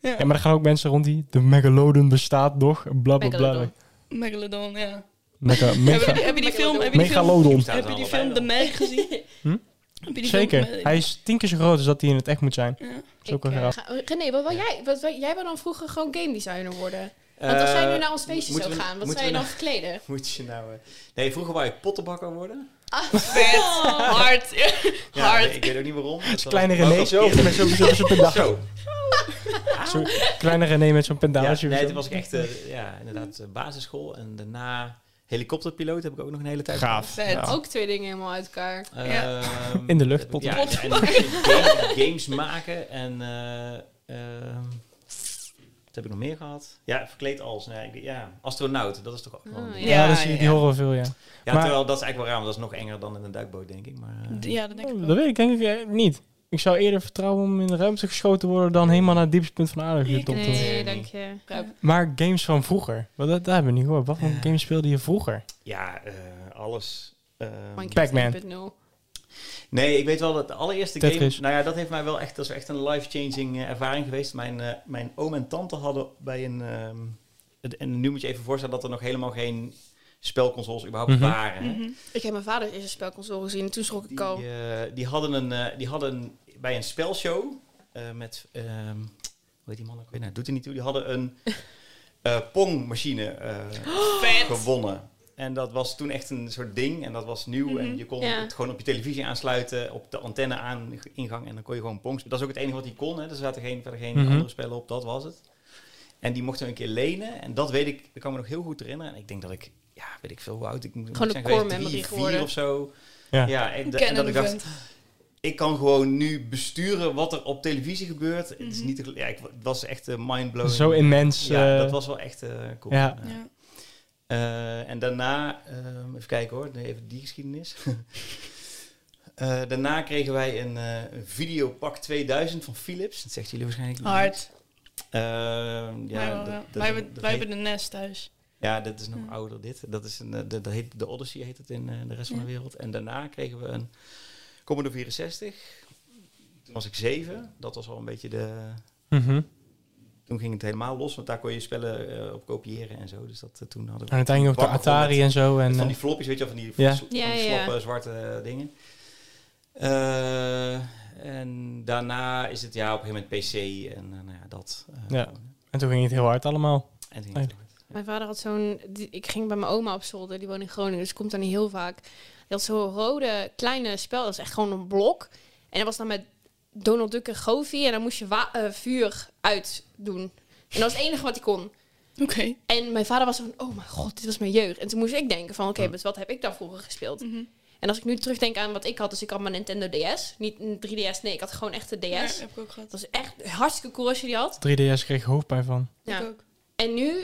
Speaker 4: Ja.
Speaker 3: Ja, maar er gaan ook mensen rond die... De megalodon bestaat nog, bla bla bla.
Speaker 2: Megalodon.
Speaker 4: Megalodon, ja. <laughs>
Speaker 3: Mega,
Speaker 4: Heb,
Speaker 3: mega,
Speaker 4: je, heb je die film? Heb je die film,
Speaker 3: megalodon.
Speaker 1: Staat er
Speaker 4: heb je die
Speaker 1: allebei
Speaker 4: film
Speaker 1: wel.
Speaker 4: The Meg gezien?
Speaker 3: Hm?
Speaker 4: Heb je die film,
Speaker 3: Zeker.
Speaker 4: eh,
Speaker 3: Hij is tien keer zo groot als dat hij in het echt moet zijn.
Speaker 4: ja.
Speaker 3: Dat is ook wel
Speaker 2: Ik, eh,
Speaker 3: grappig.
Speaker 2: ga- René, wat wil jij, wat, wil- jij wil dan vroeger gewoon game designer worden. Want als
Speaker 1: Eh,
Speaker 2: jij nu naar ons feestje
Speaker 1: moeten we-
Speaker 2: zou gaan, wat
Speaker 1: moeten
Speaker 2: zou je
Speaker 1: we
Speaker 2: dan
Speaker 1: nou-
Speaker 2: verkleden?
Speaker 1: <laughs> Moet je nou... eh, nee, vroeger wou ik pottenbakker worden.
Speaker 4: Vet. Hard.
Speaker 1: Ja,
Speaker 4: Hard.
Speaker 1: nee, ik weet ook niet waarom. Dat was- Oh,
Speaker 3: Kleine
Speaker 1: wou ik
Speaker 3: René
Speaker 1: als
Speaker 3: zo,
Speaker 1: kind.
Speaker 3: met zo'n zo, pendaaltje.
Speaker 1: Zo.
Speaker 3: Zo, kleine René met zo'n
Speaker 1: Ja,
Speaker 3: pendaaltje.
Speaker 1: nee, toen was ik echt eh, ja, inderdaad eh, basisschool. En daarna helikopterpiloot heb ik ook nog een hele tijd
Speaker 3: Gaaf.
Speaker 4: Vet.
Speaker 3: Ja.
Speaker 2: Ook twee dingen helemaal uit elkaar.
Speaker 1: gedaan.
Speaker 4: Ja.
Speaker 1: Ehm,
Speaker 3: In de lucht,
Speaker 1: heb ik-
Speaker 3: potten.
Speaker 4: <laughs>
Speaker 1: Ja, en game- games maken en... eh, ehm, wat heb ik nog meer gehad? Ja, verkleed als. Nee, ik- ja, astronaut, dat is toch ook wel... een
Speaker 2: Oh,
Speaker 1: ding.
Speaker 3: Ja,
Speaker 1: ja,
Speaker 4: Ah, Ja,
Speaker 3: dat zie je, die
Speaker 4: ja.
Speaker 3: horen we veel, ja. Maar-
Speaker 1: terwijl dat is eigenlijk wel raar, want dat is nog enger dan in een duikboot, denk ik. Maar, eh,
Speaker 4: Ja, dat denk ik
Speaker 3: Oh,
Speaker 4: wel.
Speaker 3: dat weet ik denk ik eh, niet. Ik zou eerder vertrouwen om in de ruimte geschoten te worden dan helemaal naar het diepste punt van de aarde
Speaker 4: Ik
Speaker 3: getopt te
Speaker 2: nee,
Speaker 3: worden.
Speaker 1: nee.
Speaker 2: dank je.
Speaker 3: Maar games van vroeger, wat, dat, dat hebben we niet gehoord. Wat voor
Speaker 1: Ja.
Speaker 3: games speelde je vroeger?
Speaker 1: ja, eh, alles... ehm,
Speaker 2: Minecraft
Speaker 3: Pac-Man.
Speaker 2: 1.0.
Speaker 1: Nee, ik weet wel dat de allereerste
Speaker 3: Tetris.
Speaker 1: game... Nou ja, dat heeft mij wel echt... Dat is echt een life-changing eh, ervaring geweest. Mijn, eh, mijn oom en tante hadden bij een... ehm, het- en nu moet je even voorstellen dat er nog helemaal geen spelconsoles überhaupt
Speaker 3: Mhm.
Speaker 1: waren. hè.
Speaker 4: Mhm.
Speaker 2: Ik heb mijn vader eerst een spelconsole gezien en toen schrok ik
Speaker 1: Die,
Speaker 2: al.
Speaker 1: eh, die hadden, een, eh, die hadden een- bij een spelshow eh, met... ehm, hoe heet die man ook weer? Nou, doet er niet toe. Die hadden
Speaker 2: <laughs>
Speaker 1: een eh, pongmachine eh,
Speaker 2: Oh,
Speaker 4: Vet.
Speaker 1: gewonnen. En dat was toen echt een soort ding. En dat was nieuw.
Speaker 4: Mhm.
Speaker 1: En je kon
Speaker 2: Ja.
Speaker 1: het gewoon op je televisie aansluiten. Op de antenne aan ingang. En dan kon je gewoon pong spelen. Dat is ook het enige wat hij kon. Hè. Er zaten geen, verder geen
Speaker 3: Mhm.
Speaker 1: andere spellen op. Dat was het. En die mochten we een keer lenen. En dat weet ik. Dat kan me nog heel goed herinneren. En ik denk dat ik... Ja, weet ik veel hoe oud. Ik moet
Speaker 2: Gewoon
Speaker 1: zijn
Speaker 2: een core
Speaker 1: geweest, drie,
Speaker 2: memory
Speaker 1: vier
Speaker 2: geworden.
Speaker 1: of zo.
Speaker 3: Ja.
Speaker 1: Ja. en, da- en dat
Speaker 4: Kennende
Speaker 1: ik dacht...
Speaker 4: vent.
Speaker 1: Ik kan gewoon nu besturen wat er op televisie gebeurt. Het is
Speaker 4: Mhm.
Speaker 1: niet... te gel- Ja, ik, wa- het was echt mind mindblowing.
Speaker 3: Zo immens.
Speaker 1: Ja,
Speaker 3: eh,
Speaker 1: dat was wel echt eh, cool.
Speaker 3: ja.
Speaker 4: Ja.
Speaker 1: Eh, en daarna, ehm, even kijken hoor, nee, even die geschiedenis. <laughs> Eh, daarna kregen wij een eh, een Videopak 2000 van Philips. Dat zegt jullie waarschijnlijk niet.
Speaker 4: Hard.
Speaker 1: Ehm,
Speaker 4: Wij
Speaker 1: ja,
Speaker 4: wel,
Speaker 1: dat-
Speaker 4: ja.
Speaker 1: dat-
Speaker 4: Wij hebben-
Speaker 1: dat
Speaker 4: wij
Speaker 1: heet-
Speaker 4: hebben de nest thuis.
Speaker 1: ja, dat is nog
Speaker 4: Ja.
Speaker 1: ouder dit. Dat is een, eh, de, dat heet, de Odyssey heet het in eh, de rest van
Speaker 4: Ja.
Speaker 1: de wereld. En daarna kregen we een Commodore 64. Toen was ik zeven. Dat was al een beetje de...
Speaker 3: Mhm.
Speaker 1: Toen ging het helemaal los, want daar kon je spellen eh, op kopiëren en zo. Dus dat, eh, toen hadden we
Speaker 3: En uiteindelijk ook de
Speaker 1: Bak begon
Speaker 3: Atari
Speaker 1: met-
Speaker 3: en zo. En,
Speaker 1: van
Speaker 3: eh,
Speaker 1: die floppies, weet je wel, van die,
Speaker 3: Ja.
Speaker 1: van die
Speaker 2: Ja, ja, ja.
Speaker 1: sloppen, zwarte eh, dingen. Eh, en daarna is het ja op een gegeven moment PC en eh, nou ja, dat. eh,
Speaker 3: Ja. en toen ging het heel hard allemaal.
Speaker 1: En toen ging het hard.
Speaker 2: Mijn vader had zo'n... die- Ik ging bij mijn oma op zolder, die woont in Groningen, dus ik kom daar niet heel vaak. Die had zo'n rode kleine spel, dat is echt gewoon een blok. En dat was dan met Donald Duck en Goofy en dan moest je wa- eh, vuur uit doen. En dat was het enige wat hij kon.
Speaker 4: Oké.
Speaker 2: En mijn vader was zo van, oh mijn god, dit was mijn jeugd. En toen moest ik denken van, oké, dus wat heb ik dan vroeger gespeeld?
Speaker 4: Mhm.
Speaker 2: En als ik nu terugdenk aan wat ik had, dus ik had mijn Nintendo DS. Niet een 3DS, nee, ik had gewoon echt de
Speaker 4: Ja,
Speaker 2: DS.
Speaker 4: heb ik ook gehad.
Speaker 2: Dat was echt hartstikke cool als je die had.
Speaker 3: 3DS kreeg ik hoofdpijn van.
Speaker 4: Ik
Speaker 2: Ja.
Speaker 4: ook.
Speaker 2: En nu,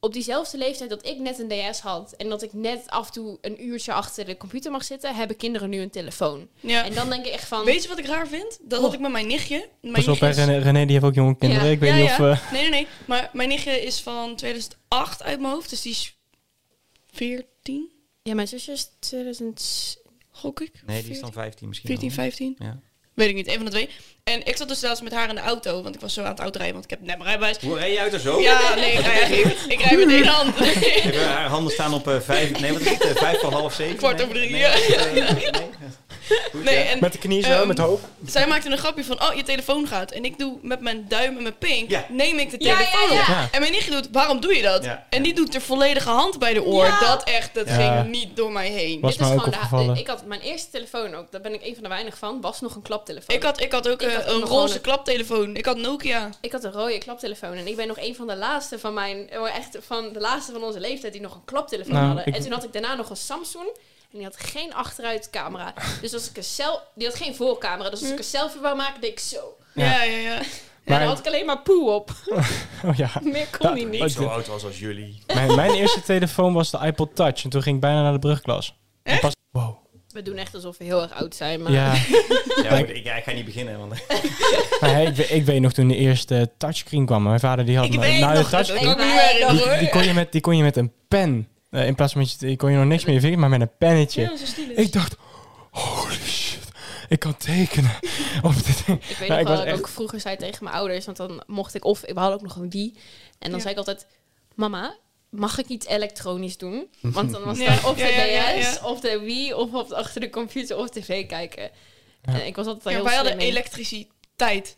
Speaker 2: op diezelfde leeftijd dat ik net een DS had... en dat ik net af en toe een uurtje achter de computer mag zitten... hebben kinderen nu een telefoon.
Speaker 4: Ja.
Speaker 2: En dan denk ik echt van...
Speaker 4: Weet je wat ik raar vind? Dat
Speaker 1: Oh.
Speaker 4: had ik met mijn nichtje. Mijn
Speaker 3: Pas op,
Speaker 4: nichtje
Speaker 3: hè,
Speaker 4: is-
Speaker 3: René, René, die heeft ook jonge kinderen.
Speaker 2: Ja.
Speaker 3: Ik weet
Speaker 4: Ja,
Speaker 3: niet
Speaker 4: ja.
Speaker 3: of...
Speaker 4: <laughs>
Speaker 3: eh,
Speaker 4: Nee, nee, nee. Maar mijn nichtje is van 2008 uit mijn hoofd. Dus die is 14,
Speaker 2: Ja, mijn zusje is 2000...
Speaker 4: gok ik.
Speaker 1: Nee, die is dan 15 misschien.
Speaker 4: 14,
Speaker 1: al.
Speaker 4: 15.
Speaker 1: Ja.
Speaker 4: Weet ik niet, een van de twee. En ik zat dus laatst met haar in de auto, want ik was zo aan het autorijden, want ik heb net mijn rijbewijs.
Speaker 1: Hoe rij je uit er zo?
Speaker 4: Ja, nee, ik rij eigenlijk niet. Ik rij met één hand.
Speaker 1: Ik heb haar handen staan op eh, vijf, nee, wat is het, eh, vijf voor half zeven?
Speaker 4: Kwart
Speaker 1: nee?
Speaker 4: over drie,
Speaker 1: Nee,
Speaker 4: ja.
Speaker 1: eh, nee. Goed,
Speaker 4: <laughs> Nee,
Speaker 1: ja.
Speaker 4: en
Speaker 3: Met de knie zo,
Speaker 4: Ehm,
Speaker 3: met hoofd.
Speaker 4: zij maakte een grapje van, oh, je telefoon gaat. En ik doe met mijn duim en mijn pink,
Speaker 1: Ja.
Speaker 4: neem ik de
Speaker 2: Ja, ja,
Speaker 4: telefoon op.
Speaker 3: Ja.
Speaker 4: En mijn nichtje doet, waarom doe je dat?
Speaker 1: Ja.
Speaker 4: En die doet er volledige hand bij de oor.
Speaker 2: Ja.
Speaker 4: Dat echt, dat
Speaker 3: Ja.
Speaker 4: ging niet door mij heen.
Speaker 3: Was
Speaker 2: dit is
Speaker 3: mij ook
Speaker 2: gewoon de-
Speaker 3: opgevallen.
Speaker 2: ik had mijn eerste telefoon ook. Daar ben ik een van de weinig van. Was nog een klaptelefoon.
Speaker 4: Ik had, ik had
Speaker 2: Ik
Speaker 4: ook eh,
Speaker 2: had ook
Speaker 4: een
Speaker 2: nog
Speaker 4: roze
Speaker 2: wel een-
Speaker 4: klaptelefoon. Ik had Nokia.
Speaker 2: Ik had een rode klaptelefoon en ik ben nog een van de laatste van mijn, eh, echt van de laatste van onze leeftijd die nog een klaptelefoon
Speaker 3: Nou,
Speaker 2: hadden.
Speaker 3: ik-
Speaker 2: En toen had ik daarna nog een Samsung en die had geen achteruitcamera. dus als ik een cel, die had geen voorcamera. Dus als
Speaker 4: Hm.
Speaker 2: ik een selfie wou maken, deed ik zo.
Speaker 3: Ja.
Speaker 4: Ja, ja, ja.
Speaker 2: En
Speaker 3: Maar-
Speaker 2: dan had ik alleen maar poe
Speaker 4: <laughs>
Speaker 2: op.
Speaker 3: <laughs> Oh ja.
Speaker 2: Meer kon
Speaker 3: Ja,
Speaker 2: die
Speaker 1: Niet
Speaker 2: niet.
Speaker 1: zo oud was als jullie.
Speaker 3: Mijn, mijn eerste telefoon was de iPod Touch. En toen ging ik bijna naar de brugklas. En
Speaker 4: Echt?
Speaker 3: Pas, wow.
Speaker 2: We doen echt alsof we heel erg oud zijn, maar
Speaker 3: Ja. <laughs>
Speaker 1: Ja, maar ik, ja, ik ga niet beginnen, want
Speaker 3: Maar hey, ik, we- ik weet nog toen de eerste touchscreen kwam. Mijn vader die had
Speaker 4: Ik
Speaker 3: me-
Speaker 4: weet
Speaker 3: nou,
Speaker 4: nog,
Speaker 3: de touch-
Speaker 4: dat kan ik me nu
Speaker 2: Nee,
Speaker 4: herinneren hoor.
Speaker 3: die, die kon je met, die kon je met een pen. eh, in plaats van met je, die kon je nog niks meer je vingers, maar met een pennetje.
Speaker 4: Ja, zo stylus.
Speaker 3: Ik dacht, holy shit. ik kan tekenen <laughs> op dit ding.
Speaker 2: Ik weet nog
Speaker 3: Ja, ik
Speaker 2: wel
Speaker 3: was
Speaker 2: dat ik
Speaker 3: echt-
Speaker 2: ook vroeger zei tegen mijn ouders, want dan mocht ik of, ik had ook nog een Wii. En dan
Speaker 4: Ja.
Speaker 2: zei ik altijd, mama, mag ik niet elektronisch
Speaker 3: <laughs>
Speaker 2: doen? Want dan was
Speaker 4: Ja,
Speaker 2: daar of de
Speaker 4: ja, ja, ja,
Speaker 2: DS,
Speaker 4: ja.
Speaker 2: of de Wii, of op, achter de computer of tv kijken. En ik was altijd
Speaker 4: Ja,
Speaker 2: heel
Speaker 4: wij hadden
Speaker 2: slim in.
Speaker 4: elektriciteit.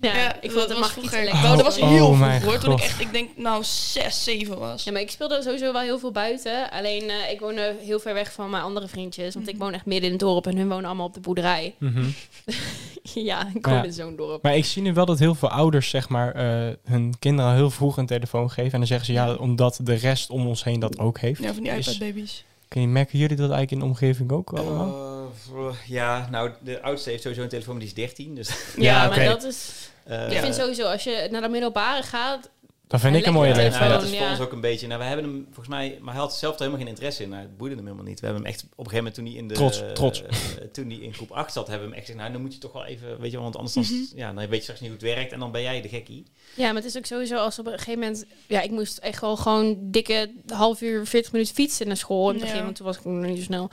Speaker 2: Ja,
Speaker 4: Ja,
Speaker 2: ik
Speaker 4: dat
Speaker 2: wilde
Speaker 4: was
Speaker 2: mag ik niet
Speaker 4: vroeger-
Speaker 2: elektronisch.
Speaker 4: Oh, dat was
Speaker 3: Oh,
Speaker 4: heel
Speaker 3: mijn
Speaker 4: vroeg hoor. Toen ik
Speaker 3: God.
Speaker 4: echt, ik denk nou 6, 7 was.
Speaker 2: Ja, maar ik speelde sowieso wel heel veel buiten. Alleen eh, ik woonde heel ver weg van mijn andere vriendjes.
Speaker 4: Mhm.
Speaker 2: Want ik woon echt midden in het dorp en hun wonen allemaal op de boerderij.
Speaker 3: Mhm.
Speaker 2: <laughs> ja, ik woon
Speaker 3: Ja.
Speaker 2: in zo'n dorp.
Speaker 3: Maar ik zie nu wel dat heel veel ouders zeg maar, eh, hun kinderen al heel vroeg een telefoon geven. En dan zeggen ze ja, omdat de rest om ons heen dat ook heeft.
Speaker 4: Ja, van die
Speaker 3: Is-
Speaker 4: iPad-babies.
Speaker 3: Kun je, merken jullie dat eigenlijk in de omgeving ook allemaal?
Speaker 1: <laughs> Eh, voor- ja, nou, de oudste heeft sowieso een telefoon, maar die is 13. Dus,
Speaker 2: Ja,
Speaker 3: Ja,
Speaker 2: maar
Speaker 3: oké.
Speaker 2: dat is...
Speaker 1: eh,
Speaker 2: Ik vind sowieso, als je naar de middelbare gaat...
Speaker 3: dat vind
Speaker 2: en
Speaker 3: ik een mooie
Speaker 2: lekker
Speaker 1: nou, dat
Speaker 3: leeftijd.
Speaker 2: telefoon.
Speaker 1: is voor
Speaker 2: ja.
Speaker 1: ons ook een beetje. Nou, we hebben hem volgens mij, maar hij had zelf er helemaal geen interesse in. Nou, het boeide hem helemaal niet. We hebben hem echt op een gegeven moment toen hij in de
Speaker 3: Trots, trots.
Speaker 1: eh, toen hij in groep 8 zat, hebben we hem echt gezegd: Nou, dan moet je toch wel even, weet je, wel, want anders dan, ja, dan weet je straks niet hoe het werkt en dan ben jij de gekkie.
Speaker 2: Ja, maar het is ook sowieso als op een gegeven moment... Ja, ik moest echt wel gewoon dikke half uur, 40 minuten fietsen naar school. In het
Speaker 4: Ja.
Speaker 2: begin, want toen was ik nog niet zo snel.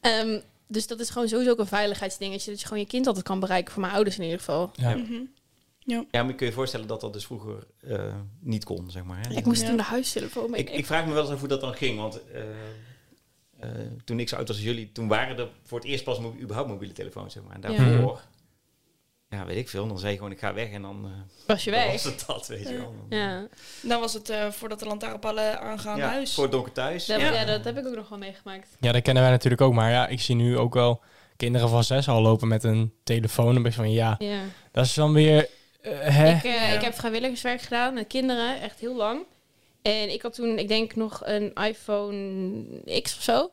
Speaker 2: Ehm, dus dat is gewoon sowieso ook een veiligheidsdingetje. Dat je gewoon je kind altijd kan bereiken. Voor mijn ouders in ieder geval.
Speaker 3: Ja.
Speaker 4: Mhm.
Speaker 1: Ja, maar je kun je voorstellen dat dat dus vroeger eh, niet kon, zeg maar. Hè?
Speaker 2: ik moest
Speaker 4: Ja.
Speaker 2: toen de huistelefoon mee.
Speaker 1: Ik, ik vraag me wel eens af hoe dat dan ging, want eh, eh, toen ik zo oud was als jullie, toen waren er voor het eerst pas mo- überhaupt mobiele telefoons, zeg maar. En
Speaker 2: Ja.
Speaker 1: daarvoor, ja. weet ik veel, dan zei je gewoon ik ga weg en dan, eh,
Speaker 2: was je
Speaker 1: dan
Speaker 2: weg.
Speaker 1: was het dat, weet je wel. Dan,
Speaker 2: Ja.
Speaker 4: Dan was het eh, voordat de lantaarnpalen aangaan
Speaker 1: ja,
Speaker 4: huis.
Speaker 1: Voor het donker thuis.
Speaker 2: Dat,
Speaker 4: Ja.
Speaker 2: ja, dat heb ik ook nog wel meegemaakt.
Speaker 3: Ja, dat kennen wij natuurlijk ook. Maar ja, ik zie nu ook wel kinderen van zes al lopen met een telefoon. En ben je van ja,
Speaker 2: Ja.
Speaker 3: dat is dan weer. eh, hè?
Speaker 2: Ik, eh,
Speaker 4: Ja.
Speaker 2: ik heb vrijwilligerswerk gedaan met kinderen, echt heel lang. En ik had toen, ik denk, nog een iPhone X of zo.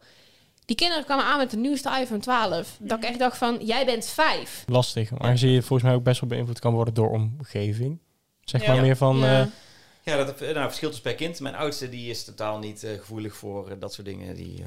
Speaker 2: Die kinderen kwamen aan met de nieuwste iPhone 12. Dat ik echt dacht van, jij bent vijf.
Speaker 3: Lastig. Maar zie je volgens mij ook best wel beïnvloed kan worden door omgeving. Zeg
Speaker 4: Ja.
Speaker 3: maar
Speaker 4: Ja.
Speaker 3: meer van.
Speaker 2: Ja.
Speaker 3: eh,
Speaker 1: Ja, dat eh, nou, verschilt dus per kind. Mijn oudste die is totaal niet eh, gevoelig voor eh, dat soort dingen. Die, eh,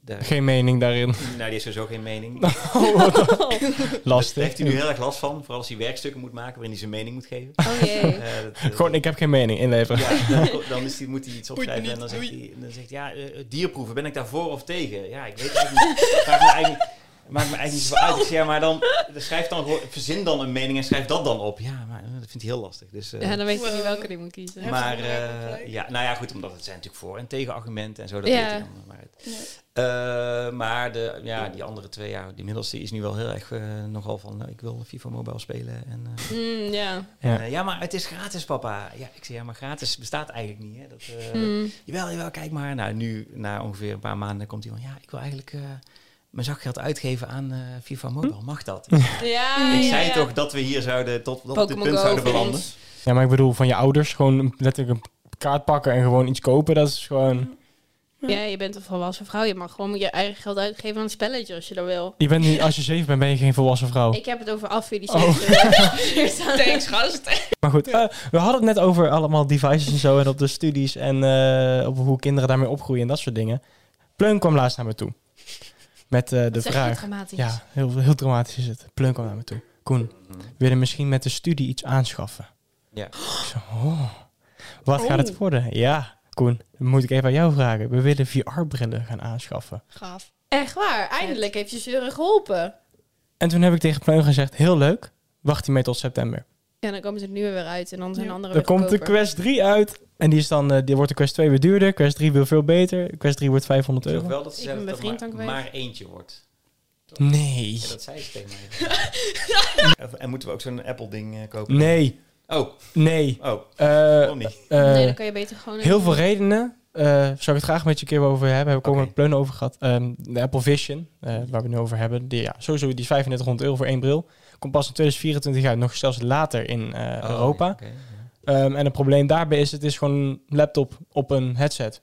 Speaker 1: daar,
Speaker 2: <laughs>
Speaker 3: geen
Speaker 1: <laughs>
Speaker 3: mening daarin. <laughs>
Speaker 1: nou, die heeft sowieso geen mening.
Speaker 3: Oh, wat dan?
Speaker 1: Daar
Speaker 3: Lastig.
Speaker 1: heeft hij nu heel erg last van, vooral als hij werkstukken moet maken waarin hij zijn mening moet
Speaker 2: <laughs>
Speaker 1: geven.
Speaker 2: Oh
Speaker 3: <laughs>
Speaker 2: jee.
Speaker 1: Eh, dat, eh,
Speaker 3: <laughs> Gewoon, ik heb geen mening inleveren.
Speaker 1: Ja, dan, dan is die, moet hij iets
Speaker 4: Boeit me
Speaker 1: opschrijven
Speaker 4: niet,
Speaker 1: en dan zegt,
Speaker 4: doei.
Speaker 1: hij, dan zegt hij, ja, eh, dierproeven, ben ik daar voor of tegen? Ja, ik weet het eigenlijk niet. Maakt me eigenlijk, maakt me eigenlijk niet zoveel uit. Ik zeg, ja, maar dan, schrijf dan gewoon, verzin dan een mening en schrijf dat dan op. Ja, maar eh, dat vindt hij heel lastig. Dus, eh,
Speaker 2: Ja, dan weet ik niet
Speaker 4: Wow.
Speaker 2: welke die moet kiezen.
Speaker 4: Ja.
Speaker 1: maar,
Speaker 4: Heftig onderwerp
Speaker 1: eh,
Speaker 4: gelijk.
Speaker 1: ja, nou ja, goed, omdat het zijn natuurlijk voor- en tegenargumenten en zo, dat
Speaker 2: Ja.
Speaker 1: weet hij dan maar uit. Eh, maar de, ja, die andere twee, ja, die middelste is nu wel heel erg eh, nogal van, nou, ik wil FIFA Mobile spelen. En, eh,
Speaker 2: Mm, ja.
Speaker 3: Ja.
Speaker 1: eh, ja, maar het is gratis, papa. Ja, ik zeg, ja, maar gratis bestaat eigenlijk niet. Hè? Dat, eh,
Speaker 2: Mm.
Speaker 1: Jawel, jawel, kijk maar. Nou, nu, na ongeveer een paar maanden, komt iemand. Ja, ik wil eigenlijk eh, mijn zakgeld uitgeven aan eh FIFA Mobile. Mag dat?
Speaker 2: Hm? Ja,
Speaker 1: ik
Speaker 2: ja,
Speaker 1: zei
Speaker 2: ja.
Speaker 1: toch dat we hier zouden tot op dit
Speaker 2: Pokémon
Speaker 1: punt
Speaker 2: Go
Speaker 1: zouden
Speaker 2: voor
Speaker 1: belanden.
Speaker 2: ons.
Speaker 3: Ja, maar ik bedoel, van je ouders gewoon een- letterlijk een kaart pakken en gewoon iets kopen, dat is
Speaker 2: Mm.
Speaker 3: gewoon...
Speaker 2: Ja, je bent een volwassen vrouw. Je mag gewoon je eigen geld uitgeven aan een spelletje als je dat wil.
Speaker 3: Je bent nu, als je zeven bent, ben je geen volwassen vrouw.
Speaker 2: Ik heb het over
Speaker 3: <laughs> Oh.
Speaker 2: affiliatie.
Speaker 4: <laughs> Thanks, gast.
Speaker 3: Maar goed, eh, we hadden het net over allemaal devices en zo en op de studies en eh, op hoe kinderen daarmee opgroeien en dat soort dingen. Pleun kwam laatst naar me toe. Met eh, de
Speaker 2: Dat is echt
Speaker 3: vraag.
Speaker 2: dramatisch.
Speaker 3: Ja, heel, heel dramatisch is het. Pleun kwam naar me toe. Koen,
Speaker 1: Mhm.
Speaker 3: wil je misschien met de studie iets aanschaffen?
Speaker 1: Ja.
Speaker 3: Ik zo, oh, wat gaat het
Speaker 4: Oh.
Speaker 3: worden? Ja, Koen, dat moet ik even aan jou vragen. We willen VR-brillen gaan aanschaffen.
Speaker 4: Gaaf.
Speaker 2: Echt waar. Eindelijk heeft je zeuren geholpen.
Speaker 3: En toen heb ik tegen Pleun gezegd, heel leuk, wacht hiermee tot september.
Speaker 2: Ja, dan komen ze er nu weer uit. En dan zijn
Speaker 4: Ja.
Speaker 2: andere
Speaker 3: Dan
Speaker 2: weer
Speaker 3: komt de
Speaker 2: Oh, goedkoper.
Speaker 3: Quest 3 uit. En die, is dan, eh, die wordt de Quest 2 weer duurder. Quest 3 wil veel beter. Quest 3 wordt 500
Speaker 1: Ik
Speaker 3: euro.
Speaker 1: wel dat ze
Speaker 2: Ik
Speaker 1: zeggen
Speaker 2: ben
Speaker 1: dat
Speaker 2: mijn
Speaker 1: er
Speaker 2: vriend
Speaker 1: maar,
Speaker 2: ook
Speaker 1: maar eentje wordt.
Speaker 3: Nee.
Speaker 1: Ja, dat zei ze tegen mij.
Speaker 2: <laughs>
Speaker 1: Of- en moeten we ook zo'n Apple-ding eh, kopen?
Speaker 3: Nee.
Speaker 1: Oh,
Speaker 3: Nee.
Speaker 1: oh,
Speaker 3: Eh,
Speaker 1: waarom niet?
Speaker 3: eh,
Speaker 2: nee, dan kan je beter gewoon...
Speaker 3: heel veel redenen. Eh, zou ik het graag met je een keer over hebben. Hebben we ook
Speaker 1: Oké.
Speaker 3: met Pleun over gehad. Ehm, de Apple Vision, eh, waar we het nu over hebben. Die, ja, sowieso die is 3500 euro voor één bril. Komt pas in 2024 uit. Nog zelfs later in eh,
Speaker 1: Oh,
Speaker 3: Europa.
Speaker 1: Ja, oké, ja.
Speaker 3: Ehm, en het probleem daarbij is, het is gewoon een laptop op een headset.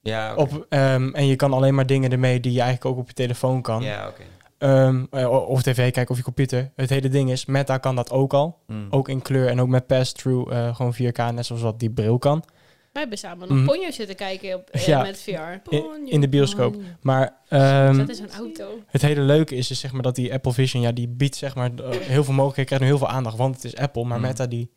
Speaker 1: Ja, oké.
Speaker 3: Op, ehm, en je kan alleen maar dingen ermee die je eigenlijk ook op je telefoon kan.
Speaker 1: Ja, oké.
Speaker 3: Ehm, eh, o- of tv kijken of je computer. Het hele ding is, Meta kan dat ook al.
Speaker 1: Mm.
Speaker 3: Ook in kleur en ook met pass-through. eh, gewoon 4K, net zoals wat die bril kan.
Speaker 2: Wij hebben samen nog
Speaker 3: Mhm.
Speaker 2: Ponyo zitten kijken op, eh,
Speaker 3: Ja.
Speaker 2: met VR.
Speaker 3: In, in de bioscoop. Maar
Speaker 2: Dus
Speaker 3: ehm,
Speaker 2: dat is een auto.
Speaker 3: het hele leuke is, dus zeg maar dat die Apple Vision, ja, die biedt zeg maar eh, heel veel mogelijkheden. Krijgt nu heel veel aandacht, want het is Apple. Maar
Speaker 1: Mm.
Speaker 3: Meta die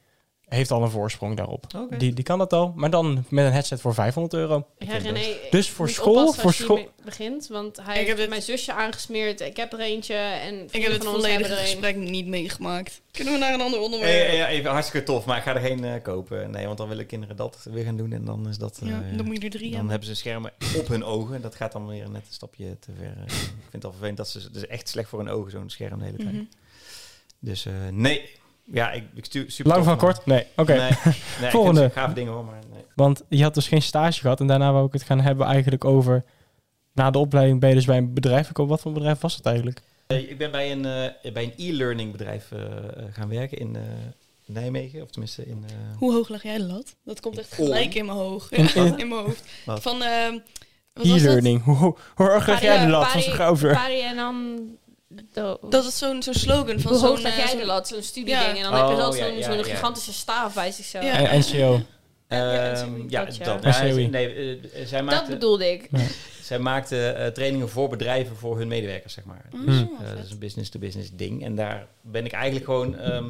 Speaker 3: heeft al een voorsprong daarop.
Speaker 1: Oké.
Speaker 3: Die, die kan dat al, maar dan met een headset voor 500 euro.
Speaker 2: Ja, René,
Speaker 3: Dus
Speaker 2: je
Speaker 3: voor
Speaker 2: moet
Speaker 3: school-
Speaker 2: oppassen
Speaker 3: voor
Speaker 2: als je
Speaker 3: school-
Speaker 2: hiermee begint, want hij
Speaker 4: Ik heb
Speaker 2: heeft
Speaker 4: dit-
Speaker 2: mijn zusje aangesmeerd. Ik heb er eentje en
Speaker 4: Ik heb het
Speaker 2: van ons hebben
Speaker 4: volledige
Speaker 2: er een.
Speaker 4: gesprek niet meegemaakt. Kunnen we naar een ander onderwerp?
Speaker 1: Eh, ja, even hartstikke tof, maar ik ga er geen eh, kopen. Nee, want dan willen kinderen dat weer gaan doen en dan is dat... eh,
Speaker 4: Ja, dan moet je er drie
Speaker 1: Dan
Speaker 4: hebben.
Speaker 1: hebben ze schermen op hun ogen. En dat gaat dan weer net een stapje te ver. eh. ik vind het al vervelend dat ze... Het is echt slecht voor hun ogen, zo'n scherm de hele tijd.
Speaker 4: Mhm.
Speaker 1: Dus eh, nee. Ja, ik, ik stuur super
Speaker 3: Lang
Speaker 1: tof,
Speaker 3: van
Speaker 1: maar-
Speaker 3: kort? Nee, oké.
Speaker 1: Nee, nee,
Speaker 3: Volgende.
Speaker 1: Ik vind ze gaaf dingen hoor, maar nee.
Speaker 3: Want je had dus geen stage gehad en daarna wou ik het gaan hebben eigenlijk over... Na de opleiding ben je dus bij een bedrijf gekomen. Wat voor bedrijf was dat eigenlijk?
Speaker 1: Eh, Ik ben bij een, eh, bij een e-learning bedrijf eh, eh, gaan werken in eh, Nijmegen. Of tenminste in... eh,
Speaker 4: Hoe hoog leg jij de lat? Dat komt echt
Speaker 1: Oor.
Speaker 4: gelijk in mijn hoofd.
Speaker 3: In- in-
Speaker 4: <laughs> in mijn hoofd.
Speaker 1: Wat?
Speaker 4: Van, ehm, wat was eh, dat?
Speaker 3: E-learning. Hoe, hoe, hoe erg leg jij de lat van zich over?
Speaker 2: Pari en dan... do-
Speaker 4: Dat is zo'n zo'n slogan van
Speaker 2: Hoe
Speaker 4: zo'n...
Speaker 2: hoog leg
Speaker 4: eh,
Speaker 2: jij
Speaker 4: zo'n-
Speaker 2: de lat? Zo'n studieding.
Speaker 4: Ja.
Speaker 2: En dan heb je
Speaker 1: Oh,
Speaker 2: dat
Speaker 1: ja,
Speaker 2: zo'n
Speaker 1: ja,
Speaker 2: zo'n
Speaker 1: ja.
Speaker 2: gigantische staaf bij zichzelf.
Speaker 4: Ja.
Speaker 3: En NCO.
Speaker 2: Ja,
Speaker 1: Ehm,
Speaker 2: NCOE,
Speaker 1: ja,
Speaker 2: dat,
Speaker 1: dat.
Speaker 2: ja.
Speaker 1: Ja,
Speaker 3: NCOE.
Speaker 1: nee, eh, eh, zij
Speaker 2: Dat
Speaker 1: maakte,
Speaker 2: bedoelde ik.
Speaker 1: zij maakte eh, trainingen voor bedrijven voor hun medewerkers, zeg maar.
Speaker 4: Mm,
Speaker 3: Hmm.
Speaker 1: Eh,
Speaker 4: vet.
Speaker 1: dat is een business-to-business ding. En daar ben ik eigenlijk gewoon... ehm,